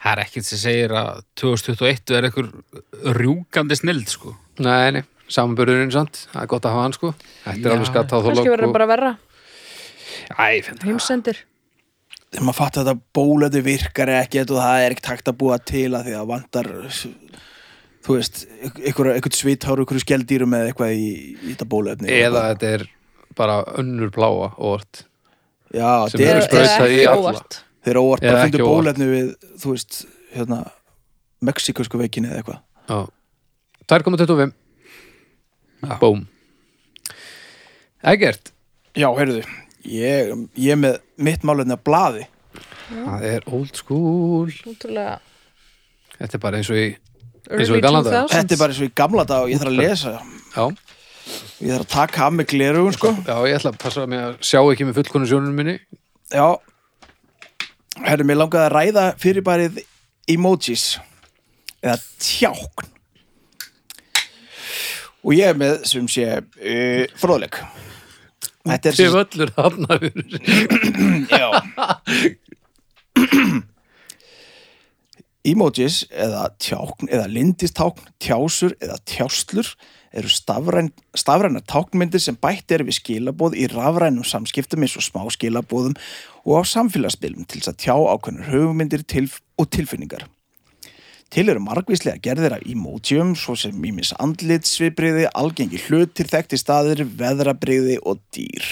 [SPEAKER 4] það er ekkert sem segir að 2021 er einhver rjúkandi snild sko.
[SPEAKER 2] Nei, nei, samanbörðurinn sant Það er gott að hafa hann sko Þetta er
[SPEAKER 4] Já.
[SPEAKER 2] alveg skatt á þó
[SPEAKER 1] Kannski verður bara verra.
[SPEAKER 2] Æ, finn það
[SPEAKER 1] Heimsendir.
[SPEAKER 3] þegar maður fatt að þetta bólöðu virkar ekkert og það er ekkert hægt að búa til að því að vantar þú veist, einhver, einhver svithár einhver skeldýrum eða eitthvað í, í þetta bólöfni
[SPEAKER 2] Eða þetta er bara önnur pláa óvart
[SPEAKER 3] Já,
[SPEAKER 2] sem
[SPEAKER 3] þetta
[SPEAKER 2] er
[SPEAKER 3] er
[SPEAKER 1] Eða-
[SPEAKER 3] eitthvað
[SPEAKER 2] sprautað
[SPEAKER 1] eða
[SPEAKER 2] í
[SPEAKER 1] ekki
[SPEAKER 2] alla.
[SPEAKER 1] óvart.
[SPEAKER 3] þeir óvart
[SPEAKER 2] Eða
[SPEAKER 3] bara
[SPEAKER 2] ekki
[SPEAKER 3] fundu
[SPEAKER 2] óvart.
[SPEAKER 3] bólefni við, þú veist, hérna Mexikosku veikinni eða eitthvað
[SPEAKER 2] Já 2,25
[SPEAKER 4] Já.
[SPEAKER 2] Búm Eggert
[SPEAKER 3] Já, heyrðu, Ég, ég er með mitt málefni að blaði
[SPEAKER 2] það er old school
[SPEAKER 1] Útrúlega
[SPEAKER 2] þetta er bara eins og í Eins og í
[SPEAKER 1] early
[SPEAKER 2] gamla daga.
[SPEAKER 1] 2000s
[SPEAKER 3] Þetta er bara eins og í gamla dag og ég þarf að lesa
[SPEAKER 2] já,
[SPEAKER 3] Ég þarf að taka af mig glerugun sko
[SPEAKER 2] já, ég ætla að passa mig að sjá ekki með fullkonu sjónunum minni
[SPEAKER 3] Já Herru, mér langaði að ræða fyrirbærið emojis eða tjákn og ég er með sem sé uh, fróðleik Þetta er sem
[SPEAKER 2] sem öllur hafnafjörur
[SPEAKER 3] Já Emojis eða tjákn eða lindistákn, tjásur eða tjáslur eru stafræn, stafræna táknmyndir sem bætt eru við skilabóð í rafrænum samskiptum eins og smá skilabóðum og á samfélagsbylum til þess að tjá ákveðnur höfumyndir tilf og tilfinningar. Til eru margvíslega gerðir af emotium, svo sem ímis andlitsvibriði, algengi hlutir, þekkti staðir, veðrabriði og dýr.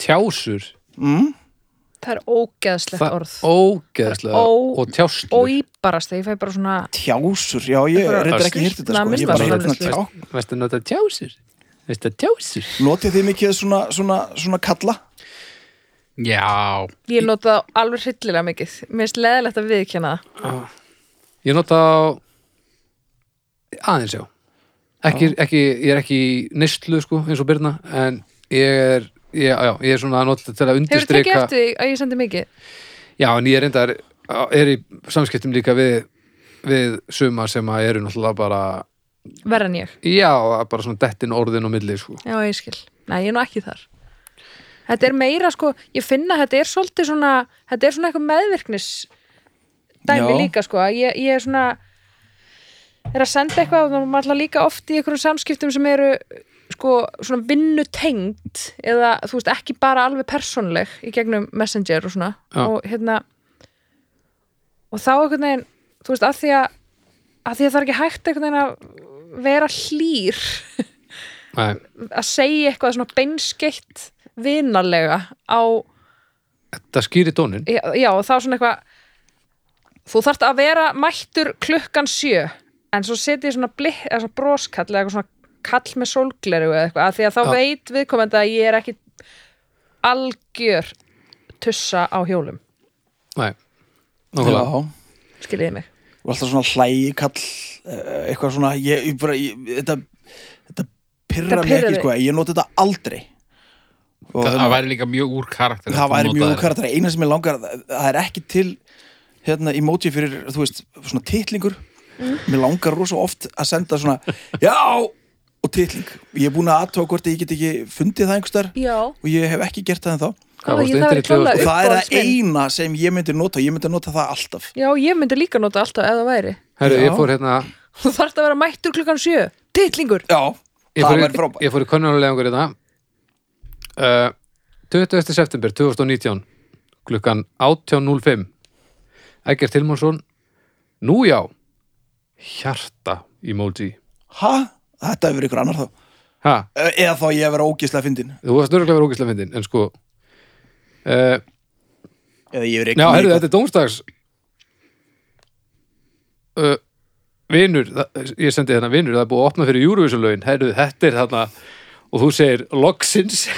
[SPEAKER 2] tjásur,
[SPEAKER 1] Það er ógeðslegt
[SPEAKER 2] það
[SPEAKER 1] orð
[SPEAKER 2] ógeðslega
[SPEAKER 1] Ó-
[SPEAKER 2] og tjáslur
[SPEAKER 1] Óýbarast, ég fæ bara svona
[SPEAKER 3] Tjásur, já, ég
[SPEAKER 1] Bara
[SPEAKER 3] reyndar ekki hýrt þetta sko,
[SPEAKER 1] snammi,
[SPEAKER 3] ég bara
[SPEAKER 1] bara
[SPEAKER 3] heyrt svona
[SPEAKER 1] framleiðslu.
[SPEAKER 3] tjá
[SPEAKER 2] veistu að nota tjásur veistu að tjásur
[SPEAKER 3] Notið þið mikið svona, svona, svona kalla?
[SPEAKER 4] Já,
[SPEAKER 1] Ég nota það alveg hryllilega mikið Mér finnst leðilegt að viðkjanna það
[SPEAKER 2] ég nota á- aðeins já ekki, ekki, ég er ekki í neyslu sko, eins og Birna en ég er, ég, já, ég er svona að nota til að
[SPEAKER 1] Hefur tekið
[SPEAKER 2] undirstrika
[SPEAKER 1] eftir því að ég sendi mikið?
[SPEAKER 2] Já, en ég reyndar er í samskiptum líka við, við suma sem að eru náttúrulega bara
[SPEAKER 1] Verra en ég
[SPEAKER 2] já, bara svona dettin orðin og milli sko.
[SPEAKER 1] Já, ég skil. Nei, ég er nú ekki þar. Þetta er meira, sko, ég finna að þetta er svolítið svona, þetta er svona eitthvað meðvirknis dæmi
[SPEAKER 3] Já.
[SPEAKER 1] líka, sko, að ég, ég er svona er að senda eitthvað og maður ætla líka oft í einhverjum samskiptum sem eru sko, svona vinnutengt eða, þú veist, ekki bara alveg persónleg í gegnum messenger og svona
[SPEAKER 2] Já.
[SPEAKER 1] og hérna og þá einhvern veginn, þú veist, að því að að því að það er ekki hægt einhvern veginn að vera hlýr
[SPEAKER 2] Nei,
[SPEAKER 1] að segja eitthvað svona beinskeitt vinalega á,
[SPEAKER 2] þetta skýri tónin
[SPEAKER 1] já, já og þá svona eitthvað þú þarft að vera mættur klukkan sjö en svo setið svona, blik, eða svona broskall eða eitthvað svona kall með sólgleru eða eitthvað, af því að þá
[SPEAKER 2] Já.
[SPEAKER 1] veit viðkomandi að ég er ekki algjör tussa á hjólum,
[SPEAKER 2] Nei, nákvæmlega
[SPEAKER 3] Og
[SPEAKER 1] skiljiði mig
[SPEAKER 3] alltaf svona hlægi kall, eh, eitthvað svona, ég, ég bara, ég, þetta, þetta
[SPEAKER 1] Þetta
[SPEAKER 3] pyrra mig
[SPEAKER 1] pirrar
[SPEAKER 3] ekki
[SPEAKER 1] þig.
[SPEAKER 3] sko, ég noti þetta aldrei. Og
[SPEAKER 4] það,
[SPEAKER 3] hérna,
[SPEAKER 4] væri líka mjög úr karakter
[SPEAKER 3] það
[SPEAKER 4] að
[SPEAKER 3] væri
[SPEAKER 4] nota
[SPEAKER 3] mjög
[SPEAKER 4] þetta.
[SPEAKER 3] karakter, eina sem ég langar, það- það er ekki til, hérna, emoji fyrir, þú veist, svona titlingur.
[SPEAKER 1] Mm.
[SPEAKER 3] Mér langar rosa oft að senda svona, já, og titling. Ég er búin að aðtóa hvort ég get ekki fundið það einhverstaðar
[SPEAKER 1] já,
[SPEAKER 3] og ég hef ekki gert það en þá.
[SPEAKER 2] Hvað
[SPEAKER 1] Góða,
[SPEAKER 2] varstu,
[SPEAKER 1] ég- það er
[SPEAKER 2] internetið og-
[SPEAKER 1] klálega
[SPEAKER 3] og það er það
[SPEAKER 1] uppáhaldsminn.
[SPEAKER 3] eina sem ég myndi nota ég myndi nota það alltaf
[SPEAKER 1] já, ég myndi líka nota alltaf ef það væri
[SPEAKER 2] Herru,
[SPEAKER 3] Já.
[SPEAKER 2] ég fór hérna
[SPEAKER 1] þú þarft að vera mættur klukkan sjö, titlingur
[SPEAKER 3] já,
[SPEAKER 2] ég
[SPEAKER 3] það
[SPEAKER 2] fór,
[SPEAKER 3] væri
[SPEAKER 2] í-
[SPEAKER 3] frábært
[SPEAKER 2] ég fór í könnulegangur þetta uh, 20. september 2019 klukkan 18.05 Ægert Tilmánsson Nú já Hjarta emoji
[SPEAKER 3] hæ? þetta hefur ykkur annar þá
[SPEAKER 2] Ha,
[SPEAKER 3] E- eða þá ég hefur ógislega fyndin
[SPEAKER 2] þú varst nörgulega verið ógæslega myndin en sko uh,
[SPEAKER 3] eða ég hefur
[SPEAKER 2] Já,
[SPEAKER 3] eitthvað
[SPEAKER 2] herðu, þetta er dómstags uh, Vinur, það- ég sendi þarna vinur það er búið að opna fyrir Eurovision-laun herðu, þetta er þarna og þú segir loksins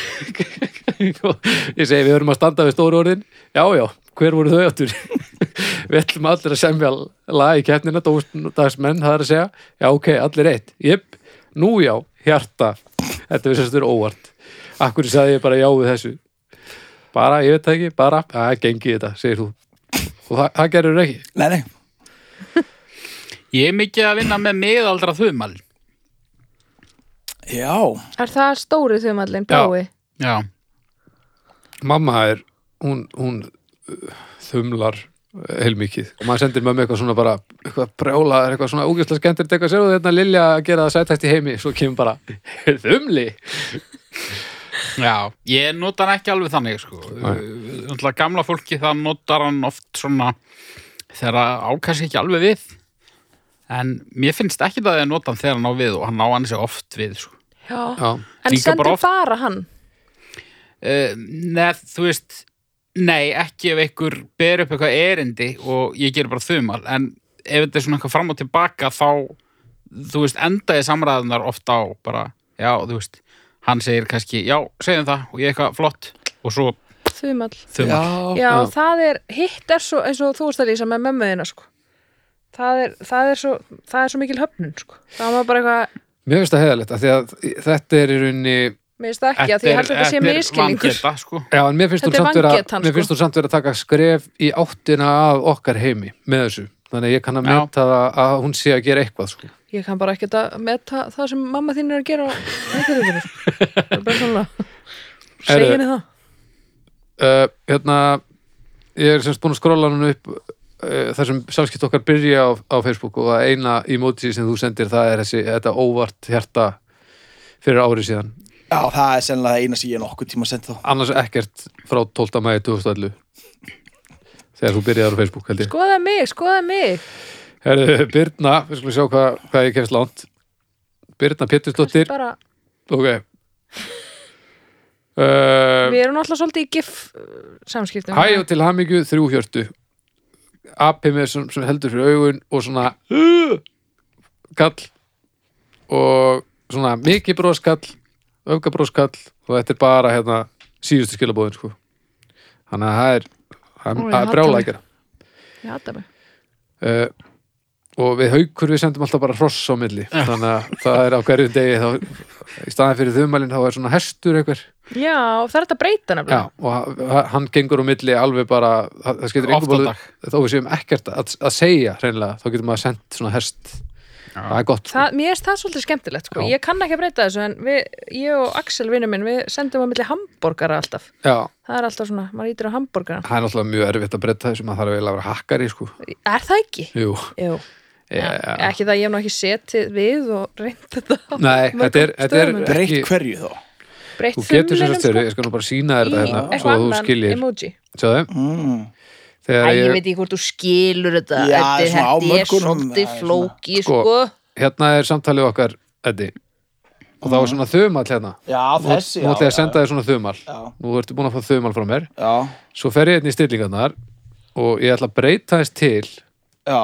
[SPEAKER 2] Og ég segi við höfum að standa við stóru orðin já, já, hver voru þau áttur við ætlum allir að semja lag í keppnina, dómstagsmenn það er að segja, já ok, allir eitt jöp, nú já, hjarta þetta við sérst verið óvart akkur sagði ég bara já við þessu bara, ég veit það ekki, bara, að gengi þetta, segir þú og það, það gerur ekki
[SPEAKER 3] nei, nei.
[SPEAKER 4] Ég er mikið að vinna með miðaldra þumal
[SPEAKER 3] já,
[SPEAKER 1] er það stórið þau mallin,
[SPEAKER 2] Já.
[SPEAKER 1] blái
[SPEAKER 4] Já,
[SPEAKER 2] mamma er, hún, hún uh, þumlar uh, heilmikið og maður sendir mömmu eitthvað svona bara eitthvað brjóla, eitthvað svona úkjöfslega skemmtir eitthvað sér og þetta Lilja að gera það sættast í heimi svo kemur bara, þumli
[SPEAKER 4] já, ég nota hann ekki alveg þannig sko. Ætla, Gamla fólki það notar hann oft svona þegar það ákast ekki alveg við en mér finnst ekki það að ég nota hann þegar hann á við og hann ná hann sér oft við sko.
[SPEAKER 1] já,
[SPEAKER 2] já,
[SPEAKER 1] en
[SPEAKER 4] Líka bara
[SPEAKER 1] sendir
[SPEAKER 4] oft-
[SPEAKER 1] bara hann
[SPEAKER 4] uh, neð, þú veist nei, ekki ef einhver ber upp eitthvað erindi og ég ger bara þumal en ef þetta er svona eitthvað fram og tilbaka þá, þú veist, enda ég samræðunar oft á bara, já, þú veist hann segir kannski, já, segjum það og ég eitthvað flott og svo
[SPEAKER 1] þumall
[SPEAKER 4] þumar
[SPEAKER 2] Oh,
[SPEAKER 1] já, það er, hitt er svo eins og þú veist að lýsa með mömmuðina sko. það, er, það, er svo, það er svo mikil höfnun sko. það var bara eitthvað
[SPEAKER 2] Mér finnst það heðalegt af því að þetta er í rauninni já,
[SPEAKER 1] Mér finnst það ekki að því ég held að þetta sé miskilningur
[SPEAKER 4] vangeta, sko.
[SPEAKER 2] en mér finnst
[SPEAKER 1] Þetta er
[SPEAKER 2] hún samt vera
[SPEAKER 1] vangetan,
[SPEAKER 2] mér
[SPEAKER 1] sko.
[SPEAKER 2] finnst hún samt vera að taka skref í áttina af okkar heimi með þessu þannig að ég kann að
[SPEAKER 4] Já.
[SPEAKER 2] meta það að hún sé að gera eitthvað sko.
[SPEAKER 1] Ég kann bara ekkert að meta það sem mamma þín er að gera sko. Það er bara svona
[SPEAKER 2] Heyrðu.
[SPEAKER 1] Segja henni það
[SPEAKER 2] uh, hérna ég er semst búin að skrolla hann upp uh, þar sem samskipt okkar byrja á, á Facebook og að eina emoji sem þú sendir það er þessi, þetta óvart hjarta fyrir ári síðan
[SPEAKER 3] Já, það er sennilega það eina sem ég er nokkuð tíma sent þá
[SPEAKER 2] annars ekkert frá 12. mæði 2011 þegar þú byrjaðar á Facebook held ég
[SPEAKER 1] Skoða mig, skoða mig
[SPEAKER 2] Herðu, Birna, við skulum sjá hvað, hvað ég kemst langt Birna Pétursdóttir
[SPEAKER 1] bara,
[SPEAKER 2] Ok Eh, uh,
[SPEAKER 1] Við erum alltaf svolítið í gif uh, samskiptum
[SPEAKER 2] Hæ og til hamingju, þrjú hjörtu Api með sem, sem heldur fyrir augun og svona kall og svona mikið broskall öfgabroskall og þetta er bara hérna síðustu skilabóðin sko þannig að það er,
[SPEAKER 1] Ó,
[SPEAKER 2] það er,
[SPEAKER 1] ég
[SPEAKER 2] það
[SPEAKER 1] hata
[SPEAKER 2] er
[SPEAKER 1] mig.
[SPEAKER 2] brjála að gera
[SPEAKER 1] Ég hata mig
[SPEAKER 2] uh, og við haukur við sendum alltaf bara hross á milli þannig að það er á hverjum degi þá, í staðan fyrir þumælinn þá er svona hestur einhver
[SPEAKER 1] Já, það er þetta að breyta
[SPEAKER 2] Já,
[SPEAKER 1] nefnilega
[SPEAKER 2] og ha- hann gengur á milli alveg bara það það skiptir
[SPEAKER 4] Oft á
[SPEAKER 2] engu máli-
[SPEAKER 4] dag.
[SPEAKER 2] þó við séum ekkert að, að segja hreinlega, þá getur maður sendt svona hest það er gott sko.
[SPEAKER 1] Það, mér finnst það svolítið skemmtilegt sko.
[SPEAKER 2] Já.
[SPEAKER 1] Ég kann ekki að breyta þessu en við, ég og Axel vinur minn, við sendum á milli hambúrgara alltaf.
[SPEAKER 2] Já,
[SPEAKER 1] Það er alltaf svona, maður ítir á hambúrgaran.
[SPEAKER 2] það er náttúrulega mjög erfitt að breyta þessu maður þarf eiginlega að vera hakkari sko.
[SPEAKER 1] Er það ekki?
[SPEAKER 2] Jú,
[SPEAKER 1] Jú.
[SPEAKER 2] yeah.
[SPEAKER 1] Ekki það ég hef nú ekki setið við og reynt þetta. á
[SPEAKER 2] Nei,
[SPEAKER 1] mörgum
[SPEAKER 2] þetta er- þetta er-
[SPEAKER 1] stöðum.
[SPEAKER 3] Breytt
[SPEAKER 2] Ekki-
[SPEAKER 3] hverju þá
[SPEAKER 1] breytt
[SPEAKER 2] þú getur sem sagt
[SPEAKER 1] þumlinum,
[SPEAKER 2] þeirri, ég skal nú bara sína þér þetta
[SPEAKER 1] sko. í
[SPEAKER 2] hérna, svo
[SPEAKER 1] eitthvað
[SPEAKER 2] að þú
[SPEAKER 1] annan
[SPEAKER 2] skiljir
[SPEAKER 1] emoji
[SPEAKER 2] Sjáðu,
[SPEAKER 3] mm.
[SPEAKER 2] þegar
[SPEAKER 6] Æ, ég
[SPEAKER 2] ég,
[SPEAKER 6] veit ekki hvort þú skilur þetta
[SPEAKER 3] Já,
[SPEAKER 6] Þetta er-
[SPEAKER 3] svona á
[SPEAKER 6] þetta er
[SPEAKER 3] mörkunum, það
[SPEAKER 6] svolítið
[SPEAKER 3] er svona-
[SPEAKER 6] flóki
[SPEAKER 2] Sko,
[SPEAKER 6] sko
[SPEAKER 2] hérna er samtalið okkar, Eddi og það var svona þumall hérna
[SPEAKER 3] Já,
[SPEAKER 2] Nú
[SPEAKER 3] þessi
[SPEAKER 2] nú ætla ég að senda þér svona þumal
[SPEAKER 3] Já,
[SPEAKER 2] Nú ertu búin að fá þumal frá mér
[SPEAKER 3] já,
[SPEAKER 2] Svo fer ég einn í stillingarnar og ég ætla að breyta þess til
[SPEAKER 3] já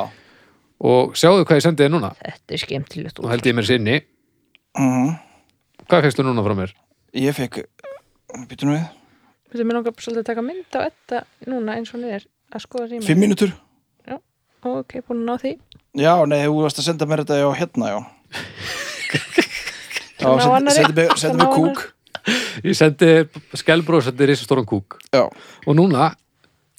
[SPEAKER 2] og sjáðu hvað ég sendi þér núna
[SPEAKER 6] Þetta er skemmtilegt
[SPEAKER 2] og held ég mér sinni
[SPEAKER 3] Mhm.
[SPEAKER 2] Hvað fegstu núna frá mér?
[SPEAKER 3] Ég fekk Býtum við
[SPEAKER 1] Þetta mér langar svolítið að taka mynd á þetta núna eins og niður að skoða rýma
[SPEAKER 3] Fimm mínútur
[SPEAKER 1] Ok, búin að ná því
[SPEAKER 3] Já, nei, þú varst að senda mér þetta já, hérna, já Já,
[SPEAKER 1] Svona á
[SPEAKER 3] sendi-
[SPEAKER 1] annarri-
[SPEAKER 3] sendi mig- sendi
[SPEAKER 1] svona á
[SPEAKER 3] mig kúk
[SPEAKER 1] annarri-
[SPEAKER 2] Ég sendi skelbrósandi risastóran kúk
[SPEAKER 3] Já,
[SPEAKER 2] og núna,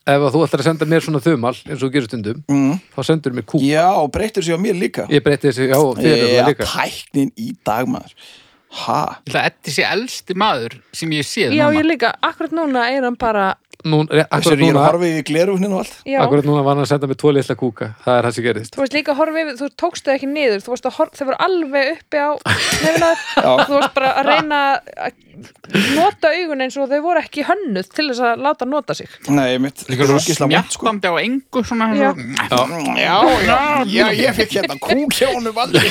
[SPEAKER 2] ef að þú ætlar að senda mér svona þumal eins og þú gerir stundum
[SPEAKER 3] mm.
[SPEAKER 2] þá sendur mér kúk
[SPEAKER 3] já og breyttur sér á mér líka
[SPEAKER 2] Ég breyti þessu, já, þér eru
[SPEAKER 3] Já,
[SPEAKER 2] það líka
[SPEAKER 3] tæknin í dag, maður Ha,
[SPEAKER 4] Ég ætla að Eddi sé elsti maður sem ég séð
[SPEAKER 1] Já,
[SPEAKER 4] núna.
[SPEAKER 1] ég líka, akkurat núna er hann bara
[SPEAKER 2] Nú,
[SPEAKER 3] þessar
[SPEAKER 2] eh, akkurat,
[SPEAKER 3] ég er að
[SPEAKER 2] núna,
[SPEAKER 3] horfa í glerunin og allt
[SPEAKER 1] Já,
[SPEAKER 2] akkurat núna var hann að senda mér tvo litla kúka Það er það sem gerist
[SPEAKER 1] þú veist líka að horfa yfir þú tókst þau ekki niður, þú veist að horfa þau voru alveg uppi á nefna, þú varst bara að reyna að nota augun eins og þau voru ekki hönnuð til þess að láta nota sig
[SPEAKER 3] Nei, mitt þetta
[SPEAKER 4] Líka
[SPEAKER 3] er
[SPEAKER 4] svona
[SPEAKER 3] ógeðslega vont, sko.
[SPEAKER 4] smjattandi á engu svona,
[SPEAKER 1] Já.
[SPEAKER 4] svona
[SPEAKER 3] Já, já, já, ég fikk hérna kúk hjá honum aldrei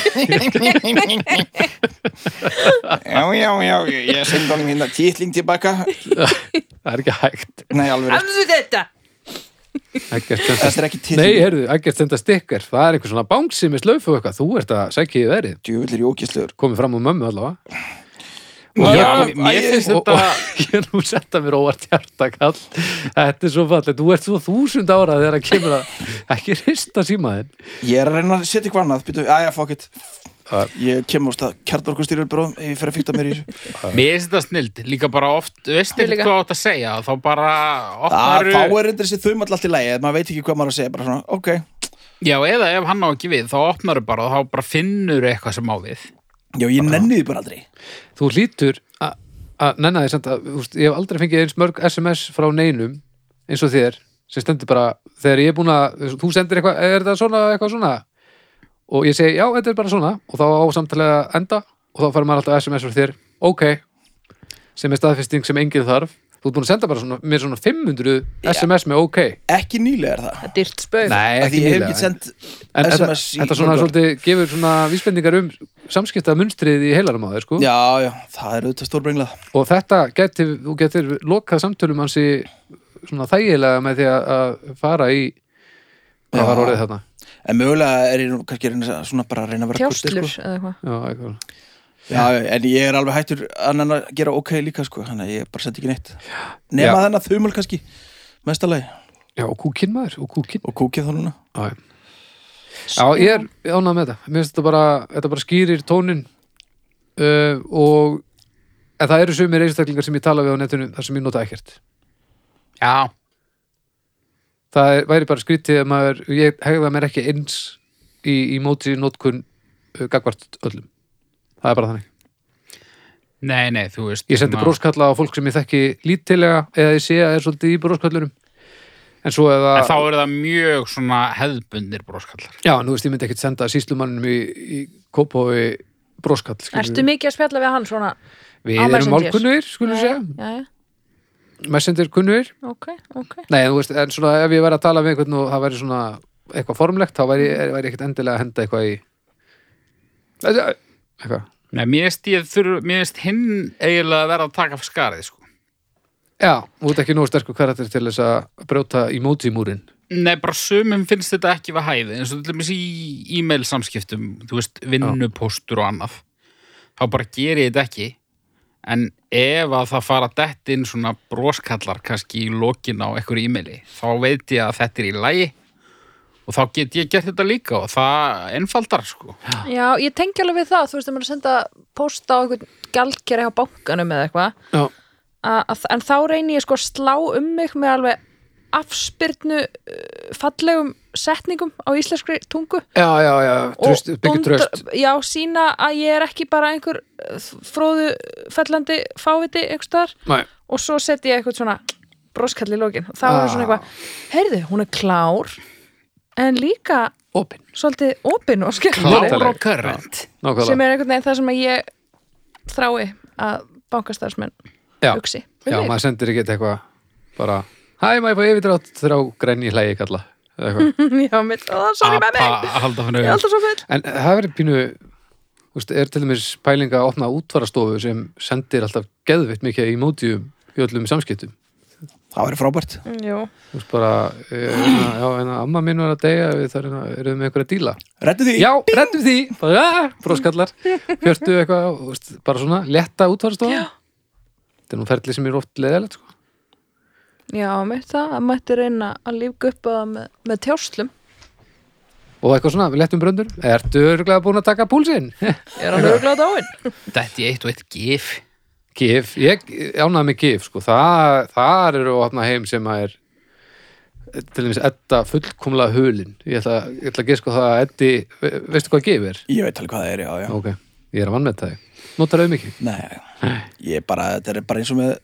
[SPEAKER 3] Já, já, já, ég ég sendi honum hérna titling tilbaka
[SPEAKER 2] Það er ekki hægt
[SPEAKER 3] Nei, alveg rétt.
[SPEAKER 1] Hafðu þetta!
[SPEAKER 2] Ekkert senda
[SPEAKER 3] Þetta er ekki titling
[SPEAKER 2] Nei, heyrðu, ekkert senda stikkar Það er einhver svona bánsi með slaufu og eitthvað Þú ert að sækja í verið
[SPEAKER 3] Djöfull er ég ógeðslegur
[SPEAKER 2] Komið fram á mömmu allavega
[SPEAKER 4] Já,
[SPEAKER 3] Já,
[SPEAKER 4] mér
[SPEAKER 3] æ,
[SPEAKER 4] finnst
[SPEAKER 2] og,
[SPEAKER 4] þetta
[SPEAKER 2] og ég er nú setta mér óvart hjartakall Þetta er svo fallið Þú ert svo þúsund ára þegar að kemur að ekki rista símaðinn
[SPEAKER 3] Ég er að reyna að setja eitthvað annað Býtu, aðja, fuck it
[SPEAKER 2] Já.
[SPEAKER 3] Ég kem á stað kjartorkustýrur bróðum Ég fer að fykta mér í þessu
[SPEAKER 4] Mér finnst þetta snild, líka bara oft þú veist
[SPEAKER 1] Ég
[SPEAKER 4] ekki
[SPEAKER 1] líka.
[SPEAKER 4] hvað þú átt að segja þá bara
[SPEAKER 3] Það
[SPEAKER 4] opnaru
[SPEAKER 3] fáir reyndar þessi þum alltaf í lægi Maður veit ekki hvað maður á að segja Bara svona, ok
[SPEAKER 4] Já, eða ef hann á ekki við, þá opnaru bara og þá bara finnur eitthvað sem á við
[SPEAKER 3] Já, ég nenni því bara aldrei
[SPEAKER 2] Þú hlýtur að- að nenna því samt að þú veist, Ég hef aldrei fengið eins mörg SMS frá neinum eins og þér sem stendur bara þegar ég er búin að þú sendir eitthvað, er þetta svona, eitthvað svona og ég segi, já, þetta er bara svona og þá á samtalið að enda og þá fær maður alltaf SMS frá þér, ok sem er staðfesting sem enginn þarf þú ert búin að senda bara svona, mér svona 500 SMS með ok
[SPEAKER 3] Ekki nýlega er það
[SPEAKER 1] Það er dyrt spöð
[SPEAKER 2] Nei,
[SPEAKER 3] Af Því ég hef
[SPEAKER 2] nýlega.
[SPEAKER 3] ekki sendt
[SPEAKER 2] En þetta,
[SPEAKER 3] SMS í
[SPEAKER 2] þetta
[SPEAKER 3] mörg
[SPEAKER 2] svona
[SPEAKER 3] ár.
[SPEAKER 2] svolítið gefur svona vísbendingar um samskipta munstrið í heilanum á þér sko
[SPEAKER 3] Já, já, það er auðvitað stórbrengla
[SPEAKER 2] og þetta getur, þú getur lokað samtölum hans í svona þægilega með því að- að fara í
[SPEAKER 3] Já.
[SPEAKER 2] hvað var orðið þarna sko.
[SPEAKER 3] En mögulega er ég nú kannski að reyna að- svona bara að reyna að vera kurteis, sko.
[SPEAKER 1] Tjáslur eða eitthvað
[SPEAKER 2] Já, eitthvað.
[SPEAKER 3] Já, en ég er alveg hættur annan að gera ok líka sko, þannig að ég bara sendi ekki neitt nema
[SPEAKER 2] Já.
[SPEAKER 3] þennan þumul kannski mestalagi
[SPEAKER 2] Já, og kúkinn maður, og kúkinn
[SPEAKER 3] og kúkið þá núna
[SPEAKER 2] Já, já ég er ánað með þetta Mér finnst þetta bara, þetta bara skýrir tónin uh, og en það eru sumir einstaklingar sem ég tala við á netinu þar sem ég nota ekkert
[SPEAKER 4] Já,
[SPEAKER 2] það er, væri bara skrítið að maður, ég hegða mér ekki eins í, í móti nótkun uh, gagvart öllum það er bara þannig
[SPEAKER 4] nei, nei, þú veist hérna,
[SPEAKER 2] ég sendi
[SPEAKER 4] svona-
[SPEAKER 2] bróskalla á fólk sem ég þekki lítilega eða ég sé að er svolítið í bróskallunum en svo eða
[SPEAKER 4] En þá eru það mjög svona hefðbundir broskallar.
[SPEAKER 2] já, nú veist, ég myndi ekkert senda síslumannum í, í kópói bróskall skilurðu.
[SPEAKER 1] Ertu mikið að spjalla við hann svona?
[SPEAKER 2] við
[SPEAKER 1] á
[SPEAKER 2] erum
[SPEAKER 1] Messenger?
[SPEAKER 2] málkunnur, skulum við segja
[SPEAKER 1] já, já,
[SPEAKER 2] messendir kunnur,
[SPEAKER 1] ok, ok
[SPEAKER 2] nei, þú veist, en svona ef ég væri að tala við einhvern og það væri svona eitthvað formlegt, þá væri, væri ekkert endilega að henda eitthvað í eitthvað
[SPEAKER 4] Nei, mér veist, þurf, mér veist hinn eiginlega að vera að taka fyrir skarið, sko.
[SPEAKER 2] Já, þú ert ekki nóg sterkur karakter til þess að brjóta í mótímúrin.
[SPEAKER 4] Nei, bara sumum finnst þetta ekki við hæði, eins og til dæmis í e-mail samskiptum, þú veist, vinnupóstur og annað. Þá bara gerir ég þetta ekki, en ef að það fara dett inn svona broskallar kannski í lokin á einhverju e-maili, þá veit ég að þetta er í lagi og þá get ég gert þetta líka og það einfaldar, sko.
[SPEAKER 1] Já, ég tengi alveg við það, þú veist, ef maður er að senda posta á einhvern gjaldkjara hjá bankanum eða eitthvað,
[SPEAKER 2] Já.
[SPEAKER 1] að- að- en þá reyni ég sko að slá um mig með alveg afspyrnu uh, fallegum setningum á íslenskri tungu
[SPEAKER 2] Já, já, já, tröst, byggja
[SPEAKER 1] dundra-
[SPEAKER 2] tröst.
[SPEAKER 1] Já, sína að ég er ekki bara einhver uh, fróðu fellandi fáviti einhverstaðar
[SPEAKER 2] Nei.
[SPEAKER 1] og svo setji ég eitthvað svona broskall í lókin þá er svona
[SPEAKER 2] Ah.
[SPEAKER 1] eitthvað, heyrðu, hún er klár en líka
[SPEAKER 2] Opin.
[SPEAKER 1] svolítið opin og skemmtileg
[SPEAKER 2] Klár og
[SPEAKER 4] current.
[SPEAKER 1] sem
[SPEAKER 2] Nákvæmlega.
[SPEAKER 1] er einhvern veginn það sem að ég þrái að bankastarfsmenn
[SPEAKER 2] Já,
[SPEAKER 1] hugsi
[SPEAKER 2] já,
[SPEAKER 1] um mig.
[SPEAKER 2] maður sendir ekki eitthvað bara, hæ, maður fór yfirdrátt þrá græni hlægi kalla. eða eitthvað.
[SPEAKER 1] já, mitt, ó, sorry með
[SPEAKER 4] Apa-
[SPEAKER 1] mig
[SPEAKER 4] að halda
[SPEAKER 1] ég er
[SPEAKER 4] fyrir augun.
[SPEAKER 1] alltaf svo full
[SPEAKER 2] En það verður pínu, þú veist, er til dæmis pælinga að opna útvarastofu sem sendir alltaf geðvitt mikið í mótíum í öllum samskiptum.
[SPEAKER 3] það væri frábært
[SPEAKER 1] Jú.
[SPEAKER 2] Þú veist bara, eh, hérna, já, en amma mín var að deyja, við þar hérna, erum með einhverja díla.
[SPEAKER 3] Reddu því,
[SPEAKER 2] Já, rettum því, bara, "Ah, broskallar, hjörtu eitthvað, þú veist, bara svona, letta útvarstofa. Þetta er nú ferli sem er oft leðilegt, sko.
[SPEAKER 1] já, mitt það, að mætti reyna að lífga upp að það með, með tjáslum
[SPEAKER 2] Og eitthvað svona, við lettum bröndur, ertu örgulega búin að taka púlsinn?
[SPEAKER 1] ég er hann örglað dáinn
[SPEAKER 4] Þetta er eitt og eitt gif.
[SPEAKER 2] gif, ég ánaði mig gif, sko, Þa, þar eru opna heim sem að er til dæmis Edda fullkomlega hulin. Ég ætla, ég ætla að gefa sko það að Eddi, ve- veistu hvað gif er?
[SPEAKER 3] ég veit alveg hvað það er já, já.
[SPEAKER 2] Ok, ég er að vann með það. Notar auðvitað mikið?
[SPEAKER 3] Nei, ég bara, þetta er bara eins og með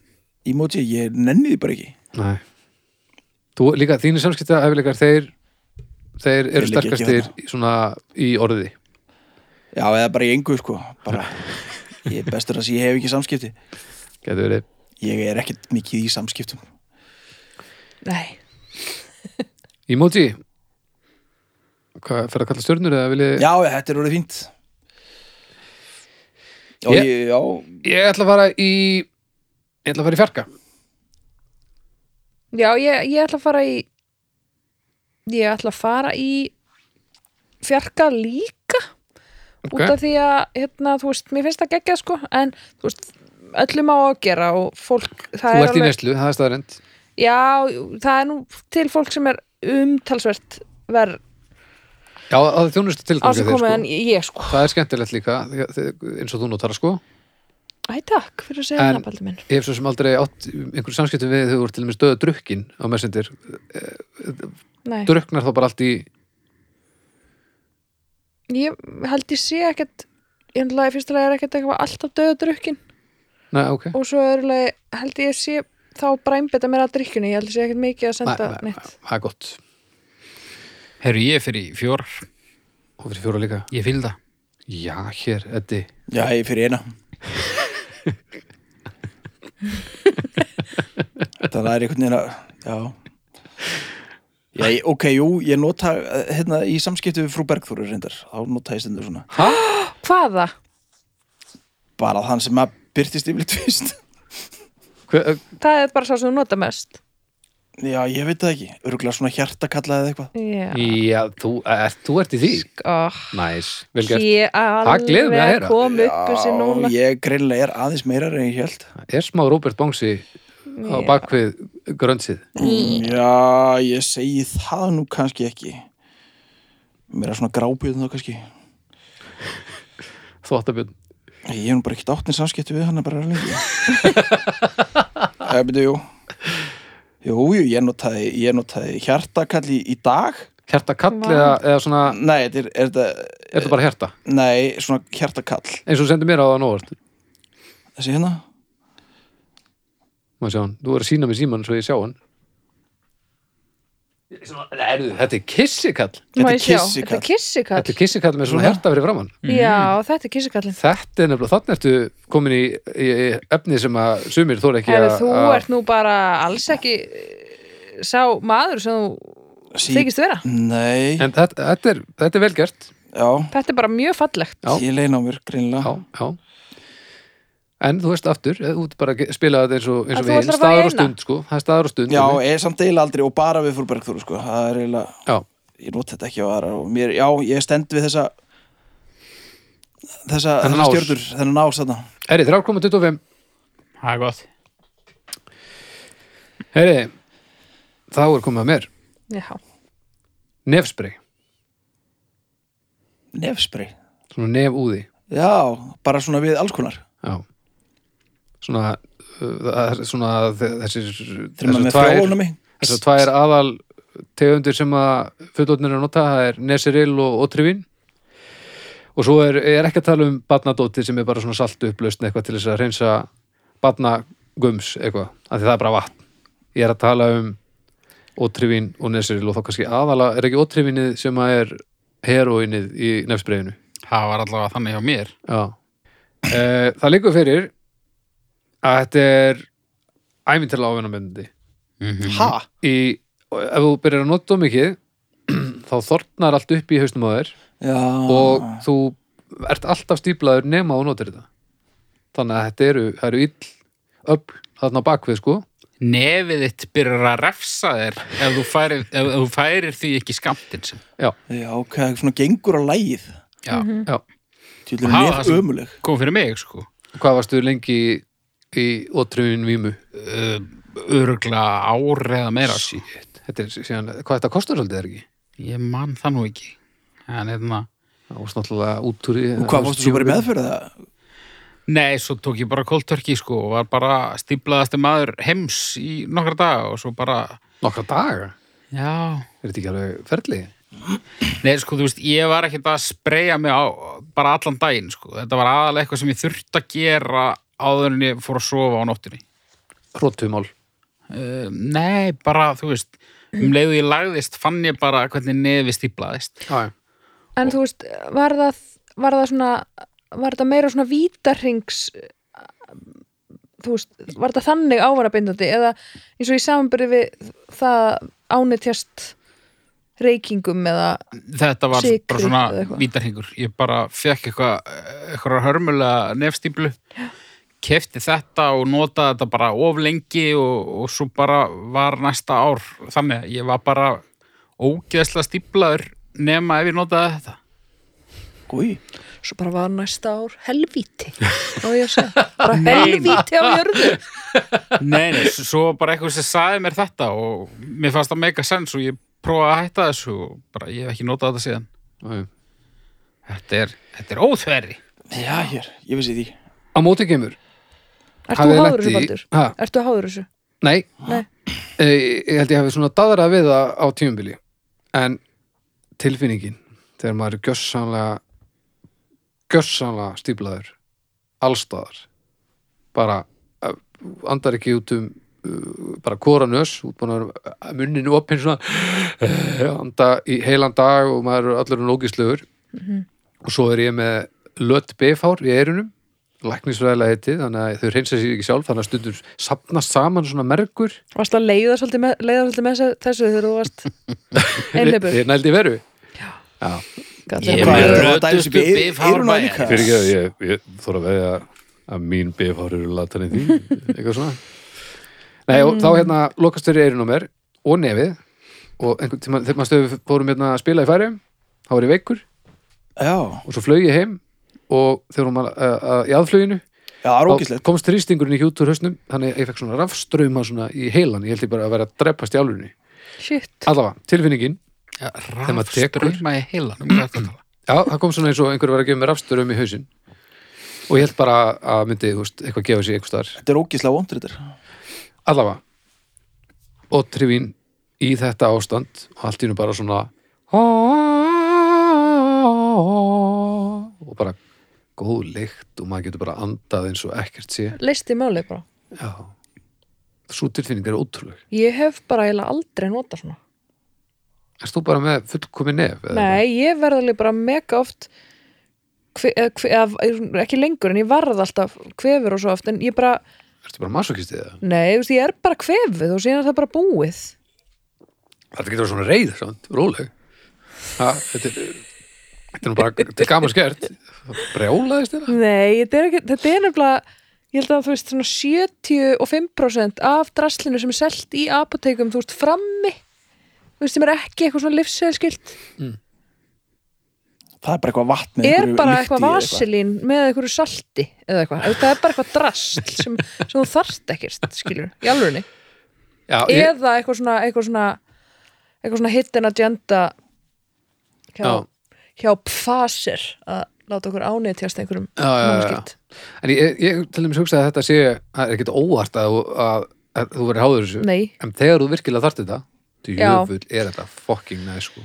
[SPEAKER 3] emoji, ég nenni því bara ekki
[SPEAKER 2] Nei Þú, líka þínir samskipta efleikar þeir,
[SPEAKER 3] Þeir
[SPEAKER 2] þeir eru
[SPEAKER 3] liggja ekki hérna.
[SPEAKER 2] sterkastir í- svona í orði
[SPEAKER 3] já, eða bara í engu sko bara, ég er bestur að sé, ég hef ekki samskipti
[SPEAKER 2] getur verið
[SPEAKER 3] ég er ekkert mikið í samskiptum
[SPEAKER 1] nei,
[SPEAKER 2] Emoji Hvað, fer að kalla stjörnur eða vilji
[SPEAKER 3] já, þetta er orðið fínt já,
[SPEAKER 2] Ég-
[SPEAKER 3] ég, já,
[SPEAKER 2] Ég ætla að fara í Ég ætla að fara í fjarka
[SPEAKER 1] já, ég, ég ætla að fara í ég ætla að fara í fjarka líka út af því að, hérna, þú veist, mér finnst það geggjað sko, en, þú veist öllum á að gera og fólk
[SPEAKER 2] Þú ert í neslu, það er staðarend
[SPEAKER 1] Já, það er nú til fólk sem er umtalsvert verð
[SPEAKER 2] Já, að það
[SPEAKER 1] á
[SPEAKER 2] þjónustu tilgangi
[SPEAKER 1] sig
[SPEAKER 2] þeir
[SPEAKER 1] komið
[SPEAKER 2] sko
[SPEAKER 1] en ég sko
[SPEAKER 2] Það er skemmtilegt líka, því- því- eins og þú notar það, sko
[SPEAKER 1] Æ, takk fyrir að segja
[SPEAKER 2] En-
[SPEAKER 1] það, Baldur minn
[SPEAKER 2] Ég hef svo sem aldrei átt einhverjum samskiptum við þau voru til með stöða drukkin á messendir
[SPEAKER 1] Nei,
[SPEAKER 2] Druknar þá bara allt í
[SPEAKER 1] ég held ég sé ekkert ég held að fyrstulega er ekkert eitthvað alltaf döðadrukkin
[SPEAKER 2] Nei, ok
[SPEAKER 1] og svo öðrulega held ég sé þá bræmbeta mér að drikkjunni, ég held ég sé ekkert mikið að senda
[SPEAKER 2] Nei, nei,
[SPEAKER 1] neitt
[SPEAKER 2] Það er gott
[SPEAKER 4] Herru, ég fyrir fjórar.
[SPEAKER 2] Og fyrir fjóra líka
[SPEAKER 4] Ég fylg það.
[SPEAKER 2] Já, hér, Eddi
[SPEAKER 3] já, ég fyrir eina þannig að það er einhvern veginn að já Já, ég, ok, jú, ég nota eh, hérna í samskiptu við frú Bergþóru reyndar, þá nota ég stendur svona
[SPEAKER 1] Hvaða?
[SPEAKER 3] bara þann sem að byrtist yfirleitt fyrst
[SPEAKER 2] Hver,
[SPEAKER 1] Það er bara sá sem þú nota mest
[SPEAKER 3] já, ég veit það ekki örgulega svona hjartakalla eða eitthvað
[SPEAKER 1] Já,
[SPEAKER 2] Já, þú, er, þú ert í því
[SPEAKER 1] oh,
[SPEAKER 2] Næs, vel gert
[SPEAKER 1] ég
[SPEAKER 2] gleður mig að
[SPEAKER 1] alveg
[SPEAKER 2] heyra.
[SPEAKER 1] kom upp um sig núna
[SPEAKER 3] ég greinlega er aðeins meira en ég held
[SPEAKER 2] Er smá Robert Bongsi á bakvið grönsið
[SPEAKER 3] já, ég segi það nú kannski ekki mér er svona grábjörn þá kannski
[SPEAKER 2] Þvottabjörn
[SPEAKER 3] ég hef nú bara ekkert áttin samskipti við hann bara lengi eða byrju, jú jú, jú, ég notaði, ég notaði hjartakall í, í dag
[SPEAKER 2] Hjarta kall eða, eða svona,
[SPEAKER 3] nei, þetta er, er þetta,
[SPEAKER 2] er það bara hjarta
[SPEAKER 3] nei, svona hjartakall
[SPEAKER 2] eins og þú sendir mér á það nóvart
[SPEAKER 3] þessi hérna
[SPEAKER 2] Má sjá hann, þú er að sína mér síman svo ég sjá hann Ég- svona- Nei, heyrðu, Þetta er kissikall
[SPEAKER 1] Má
[SPEAKER 3] þetta
[SPEAKER 1] ég
[SPEAKER 3] er
[SPEAKER 1] sjá?
[SPEAKER 3] kissikall.
[SPEAKER 1] Þetta er kissikall
[SPEAKER 2] Þetta er Mm. kissikall með svona
[SPEAKER 3] Svona.
[SPEAKER 2] hjarta fyrir framann
[SPEAKER 1] Já, þetta er kissikallin
[SPEAKER 2] Þetta er nefnilega, þannig ertu komin í, í, í efni sem að sumir þóra ekki
[SPEAKER 1] Heru,
[SPEAKER 2] að-
[SPEAKER 1] Þú
[SPEAKER 2] að-
[SPEAKER 1] ert nú bara alls ekki eh, sá maður sem þú
[SPEAKER 3] Sí-
[SPEAKER 1] þykist vera
[SPEAKER 3] Nei,
[SPEAKER 2] En þetta, þetta, er, þetta er vel gert
[SPEAKER 3] já,
[SPEAKER 1] Þetta er bara mjög fallegt
[SPEAKER 2] Já.
[SPEAKER 3] ég leina á mér
[SPEAKER 2] já,
[SPEAKER 3] greinlega
[SPEAKER 2] já. En þú veist aftur, eh, þú ert bara að spila þetta eins og, eins
[SPEAKER 1] Að þú
[SPEAKER 2] og við
[SPEAKER 1] ætlar að fara
[SPEAKER 2] hinn,
[SPEAKER 1] í
[SPEAKER 2] staðar og
[SPEAKER 1] eina?
[SPEAKER 2] stund sko, það er staðar og stund
[SPEAKER 3] Já,
[SPEAKER 2] ok?
[SPEAKER 3] ég er samt eiginlega aldrei og bara við fór Bergþóru sko, það er eiginlega
[SPEAKER 2] já,
[SPEAKER 3] ég nota þetta ekki á aðra og mér, já, ég stend við þessa þessa,
[SPEAKER 2] Þennan
[SPEAKER 3] þessa
[SPEAKER 2] ás.
[SPEAKER 3] stjördur, þennan ás þarna
[SPEAKER 2] Herri, 3.25
[SPEAKER 4] Það er gott.
[SPEAKER 2] Herri, þá er komið að mér
[SPEAKER 1] Já,
[SPEAKER 2] Nefsprey,
[SPEAKER 3] nefsprey,
[SPEAKER 2] svona nef úði
[SPEAKER 3] já, bara svona við alls konar
[SPEAKER 2] Já Svona, uh, það er svona þe- þessir
[SPEAKER 3] þegar maður
[SPEAKER 2] þessir
[SPEAKER 3] með frjóunami
[SPEAKER 2] þessar tvær aðal tegundir sem að fullotnir er að nota, það er Neseril og Otrivin og svo er, er ekki að tala um batnadóti sem er bara svona saltu upplausn eitthvað til þess að reynsa batnagums eitthvað, af því það er bara vatn ég er að tala um Otrivin og Neseril og þá kannski aðala er ekki Otrivinið sem að er heroinnið í nefnsbreiðinu
[SPEAKER 4] Það var allavega þannig hjá mér.
[SPEAKER 2] Já. Eh, það liggur fyrir að þetta er æfintilega ávinnamöndi
[SPEAKER 3] ha,
[SPEAKER 2] í, ef þú byrjar að nota of mikið þá þornar allt upp í hausnum á þér
[SPEAKER 3] já
[SPEAKER 2] og þú ert alltaf stíplaður nema þú notir þetta þannig að þetta eru, það eru ill upp þarna á bakvið sko
[SPEAKER 4] Nefið þitt byrjar að refsa þér ef þú færir, ef, ef þú færir því ekki skamtinn sem.
[SPEAKER 3] já, ok, svona gengur á lægið
[SPEAKER 4] Já,
[SPEAKER 1] Mm.
[SPEAKER 2] Já.
[SPEAKER 3] tjóðlega
[SPEAKER 4] Ha,
[SPEAKER 3] nef
[SPEAKER 4] það sem-
[SPEAKER 3] ömuleg
[SPEAKER 4] kom fyrir mig, sko.
[SPEAKER 2] hvað varstu lengi í, í ótrúin vímu
[SPEAKER 4] Uh, örgla ár eða meira. Sí.
[SPEAKER 2] þetta er síðan, hvað þetta kostar svolítið er ekki
[SPEAKER 4] Ég man það nú ekki. En hérna,
[SPEAKER 2] það varst náttúrulega útúri
[SPEAKER 3] og hvað fórstu svo bara í meðfyrir það
[SPEAKER 4] nei, svo tók ég bara kóltörki, sko, og var bara stíplaðasti maður heims í nokkra daga og svo bara,
[SPEAKER 2] nokkra daga,
[SPEAKER 4] já,
[SPEAKER 2] er þetta ekki alveg ferli
[SPEAKER 4] Nei, sko, þú veist, ég var ekkert að spreja mig á bara allan daginn, sko. Þetta var aðalega eitthvað sem ég þurfti að gera áður en ég fór að sofa á nóttinni.
[SPEAKER 2] hróttumál
[SPEAKER 4] Uh, nei, bara, þú veist, um leiðu ég lagðist fann ég bara hvernig nefi stíplaðist.
[SPEAKER 2] Já, já.
[SPEAKER 1] en þú veist, var það, var það svona var það meira svona vítarhings þú veist, var það þannig ávarabindandi eða eins og ég samanbyrði við það ánitjast reykingum eða
[SPEAKER 4] Þetta var
[SPEAKER 1] Sykri
[SPEAKER 4] bara svona
[SPEAKER 1] eða eitthvað.
[SPEAKER 4] vítarhingur. Ég bara fekk eitthvað, eh, eitthvað hörmulega nefstíplu, kefti þetta og notaði þetta bara of lengi og, og svo bara var næsta ár. Þannig, að ég var bara ógeðslega stíplaður nema ef ég notaði þetta.
[SPEAKER 3] Új,
[SPEAKER 1] svo bara var næsta ár helvíti og ég að segja, bara helvíti á jörðu
[SPEAKER 4] Nei, nei, s- svo var bara eitthvað sem saði mér þetta og mér fannst það mega sens og ég prófaði að hætta þessu og bara ég hef ekki notað þetta síðan.
[SPEAKER 2] Já, já.
[SPEAKER 4] Þetta er, þetta er óþverri.
[SPEAKER 3] já, hér, ég vissi því
[SPEAKER 2] á móti kemur
[SPEAKER 1] Ertu
[SPEAKER 2] Hafið þið
[SPEAKER 1] háður
[SPEAKER 2] lent
[SPEAKER 1] þessu,
[SPEAKER 2] í-
[SPEAKER 1] Baldur?
[SPEAKER 2] Ha?
[SPEAKER 1] Ertu háður þessu?
[SPEAKER 2] Nei,
[SPEAKER 1] Nei.
[SPEAKER 2] Eh, ég held ég hafi svona daðrað við það á tímubili en tilfinningin þegar maður er gjössanlega gjössanlega stíplaður allstaðar bara eh, andar ekki út um eh, bara kora nös út búin að vera, eh, munninu opinn svona eh, anda í heilan dag og maður er allur lókislegur og svo er ég með lött bifár í eyrunum læknisfræðilega heiti, þannig að þau reynsa sér ekki sjálf þannig að stundum sapnast saman svona mergur
[SPEAKER 1] Varst að leiða svolítið með, leiða svolítið með þessu þegar þú varst einleipur?
[SPEAKER 2] Ég nældi í veru
[SPEAKER 4] Ég
[SPEAKER 3] Hvað
[SPEAKER 4] með
[SPEAKER 3] er þetta?
[SPEAKER 4] röddustu
[SPEAKER 3] Það er þessi bif-
[SPEAKER 4] bifhár
[SPEAKER 3] eyrun á
[SPEAKER 4] bæjarins.
[SPEAKER 3] líka?
[SPEAKER 5] Fyrir ekki að ég, ég þóra að veðja að mín bifhár eru latan í því, eitthvað svona.
[SPEAKER 2] Nei, og þá hérna lokast fyrir eyrun á mér og nefið og einhvern tíma þegar maður stöðu fórum hérna að spila í færi þá var ég veikur
[SPEAKER 3] já,
[SPEAKER 2] og svo flög ég heim og þegar hún var uh, uh, í aðflöginu
[SPEAKER 3] já, það er
[SPEAKER 2] þá
[SPEAKER 3] ógislegt
[SPEAKER 2] komst þrýstingurinn í hjút úr hausnum þannig að ég fekk svona rafstrauma svona í heilan ég held ég bara að vera að dreppast í álunni
[SPEAKER 1] shit
[SPEAKER 2] allavega, tilfinningin,
[SPEAKER 4] Þegar
[SPEAKER 2] maður tekur-
[SPEAKER 4] í heilanum hvað ertu að tala?
[SPEAKER 2] já, það kom svona eins og einhver var að gefa mér rafstraum í hausinn og ég held bara að myndi, þú veist, eitthvað gefa sér eitthvað
[SPEAKER 3] þetta er ógislega vondur þetta er.
[SPEAKER 2] allavega og trivín í þetta ástand og allt í nú bara svona og bara góð lykt og maður getur bara andað eins og ekkert sé
[SPEAKER 1] leisti málið bara
[SPEAKER 2] já svo tilfinning er ótrúleg
[SPEAKER 1] ég hef bara eiginlega aldrei notað svona
[SPEAKER 2] erst þú bara með fullkomi nef? eða
[SPEAKER 1] nei, ég verð alveg bara mega oft hve, eða, hve, eða, ekki lengur en ég varð alltaf kvefur og svo oft en ég bara,
[SPEAKER 2] bara- ertu bara masokistið eða?
[SPEAKER 1] nei, þú veist, ég er bara kvefið og síðan er það bara búið
[SPEAKER 2] þetta getur verið svona reyð, samt, róleg ha, þetta er þetta er nú bara þetta er gaman skert brjálaðist þér
[SPEAKER 1] nei, þetta er, ekki, þetta er nefnilega ég held að þú veist, svona 75% af draslinu sem er selt í apotekum, þú veist, frammi þú veist, sem er ekki eitthvað svona livsseðskilt
[SPEAKER 3] það er bara eitthvað vatn með
[SPEAKER 1] er
[SPEAKER 3] einhverju
[SPEAKER 1] bara
[SPEAKER 3] lykti
[SPEAKER 1] eitthvað
[SPEAKER 3] eða
[SPEAKER 1] vaselín með eitthvað salti eða eitthvað, það er bara eitthvað drast sem, sem þú þarft ekkert, skilur í alvörunni,
[SPEAKER 2] já, ég,
[SPEAKER 1] eða eitthvað svona eitthvað svona, eitthvað svona hidden agenda hjá,
[SPEAKER 2] Já.
[SPEAKER 1] hjá Pfizer að láta okkur ánýtjast einhverjum
[SPEAKER 2] Já, já, já, já.
[SPEAKER 1] námskeið.
[SPEAKER 2] en ég, ég til dæmis hugsa að þetta sé það er ekkert óvart að, þú- að, að þú verið háður þessu
[SPEAKER 1] nei,
[SPEAKER 2] En þegar þú virkilega þarft þetta Djöfull er þetta fucking næs sko.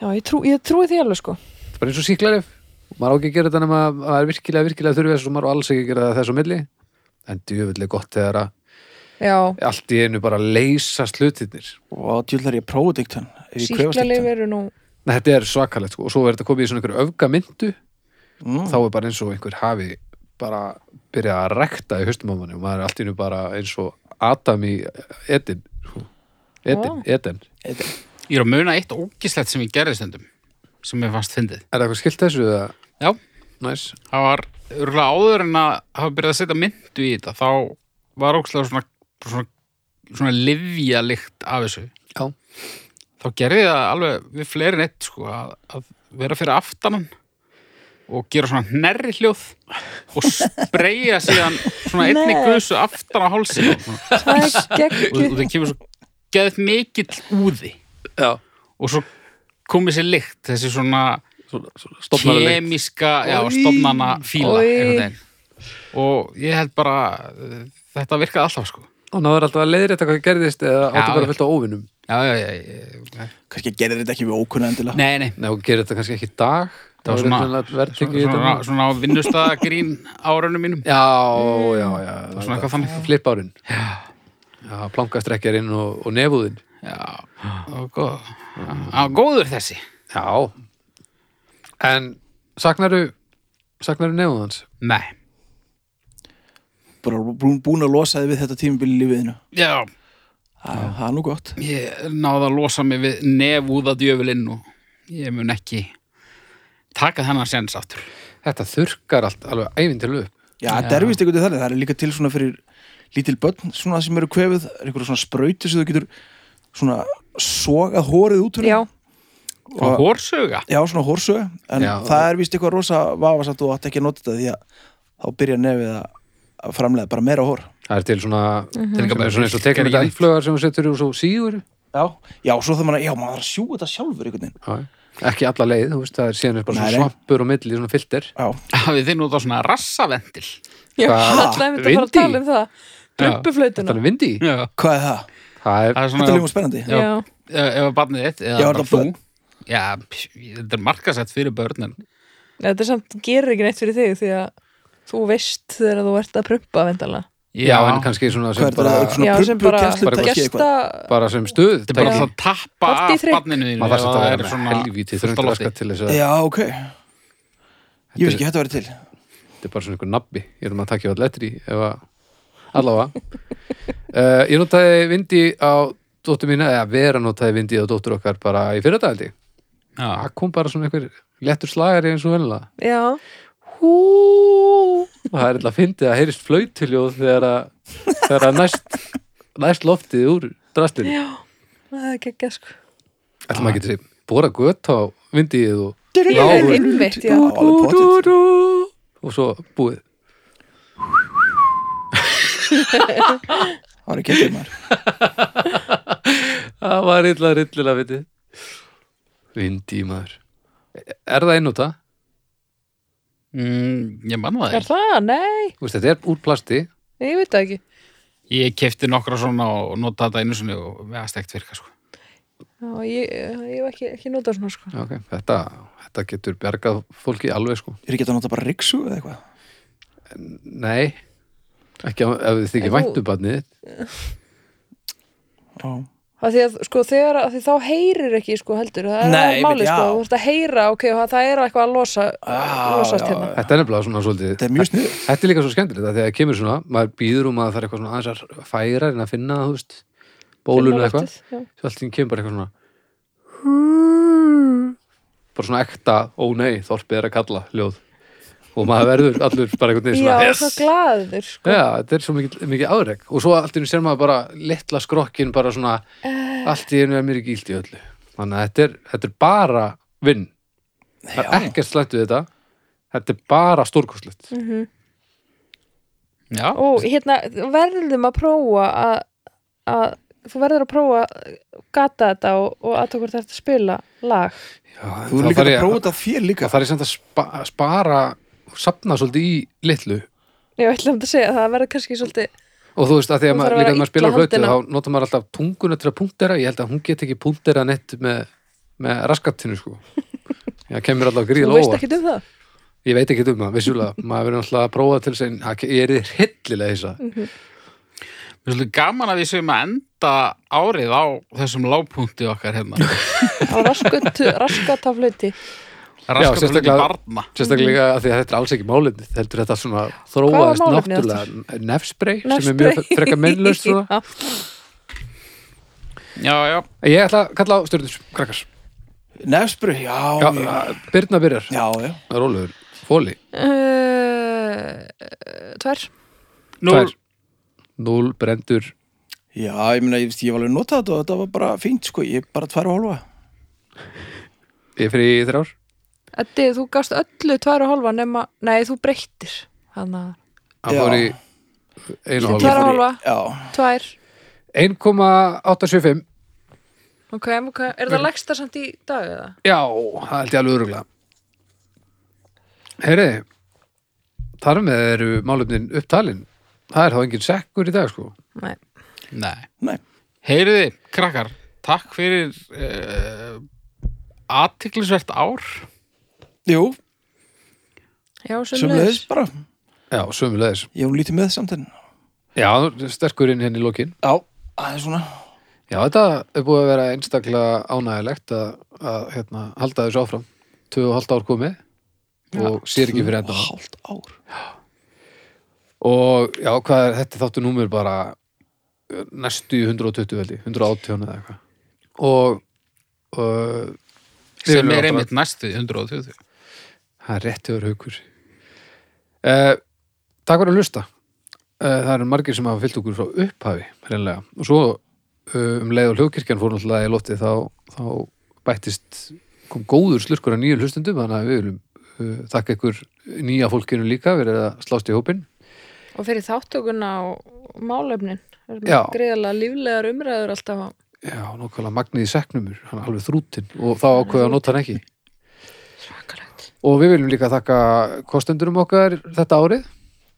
[SPEAKER 1] já, ég, trú, ég trúi því alveg sko
[SPEAKER 2] Það er bara eins og síklarif Maður á ekki að gera þetta nema að það er virkilega, virkilega þurfið þess og maður á alls ekki að gera það þess á milli En djöfull er gott þegar að
[SPEAKER 1] já,
[SPEAKER 2] allt í einu bara leysast hlutirnir
[SPEAKER 3] eitthvað. og djúlar ég prófið eitt hann ef ég krefast eitt
[SPEAKER 1] síklarleif
[SPEAKER 3] hann
[SPEAKER 1] eru nú
[SPEAKER 2] Nei, þetta er svakalegt sko. og svo er þetta komið í svona einhverju öfgamyndu
[SPEAKER 3] Mm.
[SPEAKER 4] Mm.
[SPEAKER 2] þá er bara eins og einhver hafi bara byrjað að rekta í haustum á manni og maður er allt í einu bara eins og Adam í Eden sko. Eden,
[SPEAKER 1] Ó.
[SPEAKER 2] Eden
[SPEAKER 4] Ég er að muna eitt ógislegt sem ég gerði stundum sem ég fannst fyndið
[SPEAKER 2] Er það eitthvað skilt þessu? eða?
[SPEAKER 4] Já,
[SPEAKER 2] Næs
[SPEAKER 4] það var örgulega áður en að hafa byrjað að setja myndu í þetta þá var ókslega svona svona, svona livjalikt af þessu
[SPEAKER 2] Já.
[SPEAKER 4] þá gerði ég það alveg við fleiri en eitt sko, að, að vera fyrir aftanan og gera svona hnerri hljóð og spreyja síðan svona einni
[SPEAKER 1] Nei.
[SPEAKER 4] guðsu aftan á hálsinn og svona
[SPEAKER 1] það er
[SPEAKER 4] og, og
[SPEAKER 1] geggju
[SPEAKER 4] það kemur svo geðið mikill úði
[SPEAKER 2] Já.
[SPEAKER 4] og svo komið sér lykt þessi svona
[SPEAKER 2] Stofnarleg
[SPEAKER 4] kemíska já, stofnana fíla
[SPEAKER 1] Oj.
[SPEAKER 4] einhvern veginn. og ég held bara eh, þetta virkaði alltaf sko
[SPEAKER 2] og náður alltaf að leiðrétta hvað gerðist eða áttu
[SPEAKER 4] Já,
[SPEAKER 2] bara
[SPEAKER 4] já.
[SPEAKER 2] fullt á óvinnum
[SPEAKER 4] já, já, já, já, já.
[SPEAKER 3] kannski gerir þetta ekki við ókunna endilega
[SPEAKER 4] nei, nei
[SPEAKER 2] Nei, og gerir þetta kannski ekki í dag
[SPEAKER 4] það var svona,
[SPEAKER 2] verðtingi
[SPEAKER 4] svona, svona vinnustagrín árunum mínum
[SPEAKER 2] Já, já, já
[SPEAKER 4] Mm. Svona eitthvað þannig.
[SPEAKER 2] Flip árin Já, plankastrekkjarinn og, og nefúðinn
[SPEAKER 4] já, og góð á, góður þessi
[SPEAKER 2] Já En saknaru saknaru nefúðans?
[SPEAKER 4] nei,
[SPEAKER 3] bara búin, búin að losa þið við þetta tímabili í lífiðinu
[SPEAKER 4] já,
[SPEAKER 3] það það er nú gott
[SPEAKER 4] ég náði að losa mig við nefúða djöfulinn og ég mun ekki taka þennan sens aftur
[SPEAKER 2] Þetta þurrkar allt alveg æfinn til upp
[SPEAKER 3] Já, þetta er vist einhvern veginn þannig, það er líka til svona fyrir lítil börn, svona sem eru kvefið það er einhverja svona sprauti sem þú getur svona sogað hórið út úr
[SPEAKER 1] já,
[SPEAKER 4] og hórsuga
[SPEAKER 3] já, svona hórsöga, en
[SPEAKER 2] Já.
[SPEAKER 3] það er vist eitthvað rosa vafasamt og þú átt ekki að nota þetta því að þá byrja nefið að- að framlega bara meira hór
[SPEAKER 2] Það er til svona
[SPEAKER 4] Til
[SPEAKER 2] sem
[SPEAKER 4] líka
[SPEAKER 2] er
[SPEAKER 4] bara
[SPEAKER 2] svona eins og
[SPEAKER 4] virkar
[SPEAKER 2] tekur
[SPEAKER 4] ekki
[SPEAKER 2] þetta
[SPEAKER 4] neitt.
[SPEAKER 2] einflögar sem þú setur úr svo sígur
[SPEAKER 3] Já, já, svo það maður, já, maður þarf að sjú þetta sjálfur einhvern veginn,
[SPEAKER 2] Já, ekki alla leið, þú veist, það er síðan er bara
[SPEAKER 3] Nei,
[SPEAKER 2] svona
[SPEAKER 3] nei.
[SPEAKER 2] svampur og milli, svona filter
[SPEAKER 3] já,
[SPEAKER 4] hafið þið nú þá svona rassavendil
[SPEAKER 1] já
[SPEAKER 2] Hvað?
[SPEAKER 1] alltaf einmitt að fara að
[SPEAKER 2] Vindi?
[SPEAKER 1] tala um það
[SPEAKER 2] Þetta
[SPEAKER 1] drumpuflautuna
[SPEAKER 2] er vindi í
[SPEAKER 4] já,
[SPEAKER 3] hvað er það?
[SPEAKER 2] Það er
[SPEAKER 4] það er
[SPEAKER 3] Þetta
[SPEAKER 4] svona
[SPEAKER 3] er líka spennandi
[SPEAKER 4] Já.
[SPEAKER 1] já,
[SPEAKER 4] ef ef að barnið þitt eða
[SPEAKER 3] Já,
[SPEAKER 4] bara
[SPEAKER 3] þetta
[SPEAKER 4] þú
[SPEAKER 3] börn.
[SPEAKER 4] já, pff, þetta er markasett fyrir börnin
[SPEAKER 1] þetta er samt gerir ekki neitt fyrir þig því að þú veist þegar þú ert að prumpa vendala
[SPEAKER 2] Já, en kannski svona
[SPEAKER 3] Hvað
[SPEAKER 2] sem
[SPEAKER 3] er þetta,
[SPEAKER 2] bara,
[SPEAKER 3] eitthvað svona
[SPEAKER 1] já, sem
[SPEAKER 3] prumpu-
[SPEAKER 1] bara
[SPEAKER 3] kennslu-
[SPEAKER 2] bara
[SPEAKER 3] tæki
[SPEAKER 1] gesta
[SPEAKER 3] eitthvað?
[SPEAKER 2] bara sem stuð
[SPEAKER 4] þetta er bara
[SPEAKER 2] tæki.
[SPEAKER 4] alltaf að tappa af
[SPEAKER 1] Tortítrygg.
[SPEAKER 4] barninu þínu
[SPEAKER 2] maður þarf
[SPEAKER 4] ef
[SPEAKER 2] samt að vera
[SPEAKER 4] það er
[SPEAKER 2] með
[SPEAKER 4] svona
[SPEAKER 2] helvíti
[SPEAKER 4] fullt á lofti.
[SPEAKER 2] þröngraska til þess að
[SPEAKER 3] Já, ok Ég veist ekki, að þetta verið til
[SPEAKER 2] þetta er bara svona einhver nabbi ég ætlum að takja all letri ef að allavega uh, ég notaði vindi á dóttur mína eða vera notaði vindi á dóttur okkar bara í fyrirdagaldi
[SPEAKER 4] Já.
[SPEAKER 2] það kom bara svona einhver lettur slagari eins og venlega
[SPEAKER 1] já,
[SPEAKER 2] Hú. og það er alltaf að fyndi að heyrist flautiljóð þegar að, þegar að næst, næst loftið úr drastinu
[SPEAKER 1] það er geggjað sko
[SPEAKER 2] Ætlum maður getur bóra gött á vindið og,
[SPEAKER 1] Já, einmitt, já.
[SPEAKER 3] alveg pottitt.
[SPEAKER 2] og svo búið.
[SPEAKER 3] Það var ekki ekki maður
[SPEAKER 2] Það var illa, illa, vitið. Vindið, maður. Er það einnúta?
[SPEAKER 4] Mm, ég man það
[SPEAKER 1] Er
[SPEAKER 4] ekki.
[SPEAKER 1] það? Nei,
[SPEAKER 2] Þú veist, þetta er úr plasti.
[SPEAKER 1] ég veit það ekki
[SPEAKER 4] Ég kefti nokkra svona og nota þetta einu sinni og veðast ekkert virka, sko.
[SPEAKER 1] Já, ég, ég hef ekki, ekki notað svona sko
[SPEAKER 2] Já, ok. Þetta, þetta getur bjargað fólki alveg, sko.
[SPEAKER 3] Ég er ekki að nota bara riksu eða eitthvað
[SPEAKER 2] Nei, ekki á- ef þið
[SPEAKER 1] En
[SPEAKER 2] þykir
[SPEAKER 1] þú-
[SPEAKER 2] væntu barnið.
[SPEAKER 3] Já.
[SPEAKER 1] að því að sko þegar að því þá heyrir ekki sko heldur það er
[SPEAKER 3] Nei,
[SPEAKER 1] það er
[SPEAKER 3] einmitt,
[SPEAKER 1] málið sko,
[SPEAKER 3] já.
[SPEAKER 1] þú ert að heyra ok, og það er eitthvað að losa
[SPEAKER 3] Já,
[SPEAKER 1] losast
[SPEAKER 3] já,
[SPEAKER 1] hérna
[SPEAKER 3] já.
[SPEAKER 2] Þetta er nefnilega svona svolítið.
[SPEAKER 3] Þetta er mjög snið
[SPEAKER 2] Þetta er líka svo skemmtilegt að þegar það kemur svona, maður býður um að það er eitthvað svona aðeins að færa en að finna, þú veist, bólun
[SPEAKER 1] Finna
[SPEAKER 2] eða eitthvað.
[SPEAKER 1] loftið, já.
[SPEAKER 2] Svo allt í einu kemur bara eitthvað svona bara svona ekta, ó nei, þorpið er að kalla ljóð. Og maður verður allur bara einhvern veginn
[SPEAKER 1] Já,
[SPEAKER 2] svona,
[SPEAKER 1] svo glaður sko.
[SPEAKER 2] Já, þetta er svo mikið, mikið áreik. Og svo allt í einu sér maður bara litla skrokkin bara svona, allt í einu er mér ekki ílt í öllu. Þannig að þetta er, þetta er bara vinn. Það er
[SPEAKER 3] Já.
[SPEAKER 2] ekkert slæmt við þetta. Þetta er bara stórkostlegt.
[SPEAKER 4] Já,
[SPEAKER 1] og hérna verðum að prófa að, að þú verður að prófa að gata þetta og, og að okkur þetta spila lag
[SPEAKER 2] Já, en
[SPEAKER 3] Þú
[SPEAKER 2] þá
[SPEAKER 3] er líka
[SPEAKER 2] þarf
[SPEAKER 3] að
[SPEAKER 2] ég-
[SPEAKER 3] prófa þetta þér líka
[SPEAKER 2] Það er samt að spa, spara og sapna svolítið í litlu
[SPEAKER 1] ég ætla um að segja að það verður kannski svolítið
[SPEAKER 2] og þú veist að því að
[SPEAKER 1] Hún
[SPEAKER 2] maður,
[SPEAKER 1] þarf að
[SPEAKER 2] líka
[SPEAKER 1] vera
[SPEAKER 2] að maður spilar
[SPEAKER 1] illa
[SPEAKER 2] flötu
[SPEAKER 1] handin á-
[SPEAKER 2] þá notar maður alltaf tunguna til að punktera ég held að hún get ekki punktera neitt með, með raskattinu sko það kemur alltaf
[SPEAKER 1] þú
[SPEAKER 2] gríðlega
[SPEAKER 1] veist
[SPEAKER 2] óvart
[SPEAKER 1] ekki um það
[SPEAKER 2] ég veit ekki um það, vissulega maður verður alltaf að prófa til þess að ég er hryllilega þess
[SPEAKER 1] Mhm.
[SPEAKER 2] að
[SPEAKER 4] Mér er svolítið gaman að við séum að enda árið á þessum lágpunkti okkar hérna.
[SPEAKER 1] á raskat, raskat af hluti
[SPEAKER 4] Raskaflöti
[SPEAKER 2] sérstaklega-
[SPEAKER 4] barna.
[SPEAKER 2] sérstaklega að því að þetta er alls ekki málefni heldur þetta svona
[SPEAKER 1] var
[SPEAKER 2] þróaðist
[SPEAKER 1] málefnið
[SPEAKER 2] náttúrulega nefsprey sem er mjög
[SPEAKER 1] Nefspray.
[SPEAKER 2] freka mennlust ég
[SPEAKER 1] Já.
[SPEAKER 4] Já, já.
[SPEAKER 2] ætla að kalla á stjórnir krakkars
[SPEAKER 3] Nefsbru, já,
[SPEAKER 2] Já,
[SPEAKER 3] já,
[SPEAKER 2] Birna byrjar,
[SPEAKER 3] já, já.
[SPEAKER 2] rólegur, fóli
[SPEAKER 1] uh, tvær
[SPEAKER 4] Nú,
[SPEAKER 2] Tvær. Núl brendur
[SPEAKER 3] Já, ég meina, ég, veist, ég var alveg að nota þetta og þetta var bara fínt, sko, ég er bara tvær og hálfa.
[SPEAKER 2] yfir í þrjár
[SPEAKER 1] Eddi, þú gafst öllu tvær og hálfa nema, nei, þú breyttir þannig að
[SPEAKER 2] Hann
[SPEAKER 3] Já.
[SPEAKER 2] fór í einu
[SPEAKER 1] Tvær
[SPEAKER 2] hálfa
[SPEAKER 1] og hálfa,
[SPEAKER 3] Já,
[SPEAKER 1] tvær
[SPEAKER 2] 1,875
[SPEAKER 1] ok, ok, er það leggsta samt í dag eða?
[SPEAKER 2] Já, það held ég alveg öruglega Heyri Þar með eru málefnin upptalin Það er þá engin sekkur í dag sko
[SPEAKER 1] Nei,
[SPEAKER 4] nei.
[SPEAKER 3] nei,
[SPEAKER 4] Heyriði, krakkar, takk fyrir uh, aðtiklisvert ár.
[SPEAKER 3] jú,
[SPEAKER 1] já,
[SPEAKER 3] sem
[SPEAKER 1] sömulegis
[SPEAKER 3] bara.
[SPEAKER 2] Já, sömulegis
[SPEAKER 3] Ég hún lítið með samt en,
[SPEAKER 2] Já, sterkurinn henni í lokin
[SPEAKER 3] já, það er svona,
[SPEAKER 2] Já, þetta er búið að vera einstaklega ánægilegt að, að hérna, halda þessu áfram Tvö og halvt ár komið og sér ekki fyrir enda
[SPEAKER 3] og hálft ár.
[SPEAKER 2] Og já, hvað er þetta er þáttu númur bara eh, næstu í 120 veldi, 118 eða eitthvað. Og, eh, og
[SPEAKER 4] sem er einmitt næstu í 120
[SPEAKER 2] Það er rétt hefur haukur. Uh, takk fyrir að hlusta. Uh, það eru margir sem hafa fyllt okkur frá upphafi, reynilega. Og svo uh, um leið og hljókirkjan fór náttúrulega í lofti þá, þá bættist, kom góður slurkur af nýjum hlustendum, þannig að við viljum uh, þakka ykkur nýja fólkinu líka, við erum að slást í hópinn.
[SPEAKER 1] og fyrir þáttökuna og málefnin Það
[SPEAKER 2] Já.
[SPEAKER 1] er greiðlega líflegar umræður alltaf á-
[SPEAKER 2] Já, nokkvæmlega magnið í seknumur, hann er alveg þrútin og þá ákveða að nota hann ekki.
[SPEAKER 1] svakalegt
[SPEAKER 2] Og við viljum líka þakka kostendurum okkar þetta árið.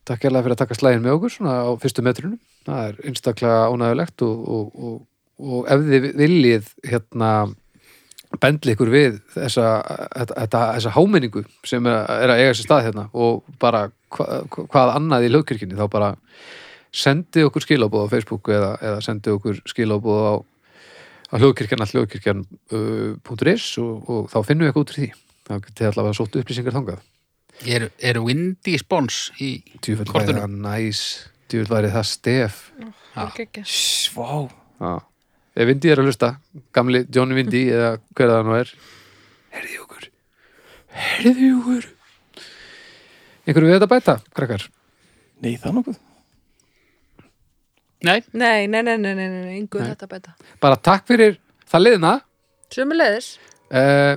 [SPEAKER 2] Takk hérlega fyrir að taka slægin með okkur svona á fyrstu metrunum. Það er einstaklega ónægulegt og, og, og, og ef þið viljið hérna bendli ykkur við þessa, þetta, þetta, þessa hámenningu sem er, er að eiga sér stað hérna og bara hva, hvað annað í lögkirkjunni þá bara sendi okkur skilabóð á Facebook eða, eða sendi okkur skilabóð á, á hljóðkirkjan all hljóðkirkjan.is og, og þá finnum við eitthvað út úr því þá getið þið allavega sótt upplýsingar þangað
[SPEAKER 4] er, er Windy Spons í
[SPEAKER 2] djúfell væri
[SPEAKER 4] kortinu
[SPEAKER 2] það næs djúfell væri það stef
[SPEAKER 3] Svá,
[SPEAKER 2] Já. ef Vindi er að hlusta gamli Johnny Vindi eða hver það nú er herði okkur herði okkur einhverju við þetta að bæta, krakkar
[SPEAKER 3] nei, það er nokkuð.
[SPEAKER 4] Nei,
[SPEAKER 1] Nei, nei, nei, nei, nei, nei, nei, yngur þetta bæta
[SPEAKER 2] Bara takk fyrir það liðna
[SPEAKER 1] Sumulegðis
[SPEAKER 2] uh,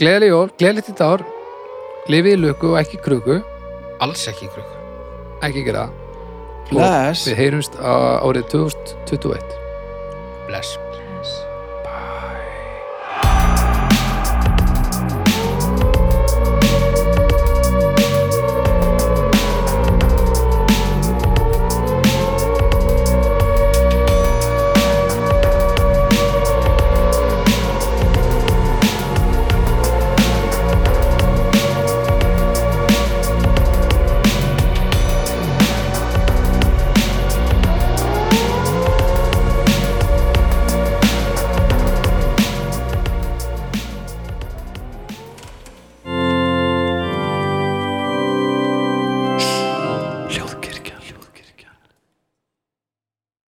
[SPEAKER 2] Gleðileg jól, gleðilegt í dár Lifið í lukku og ekki kruku
[SPEAKER 4] alls ekki krukk.
[SPEAKER 2] Ekki gera það
[SPEAKER 3] Bless.
[SPEAKER 2] Við heyrumst á árið 2021
[SPEAKER 4] Bless.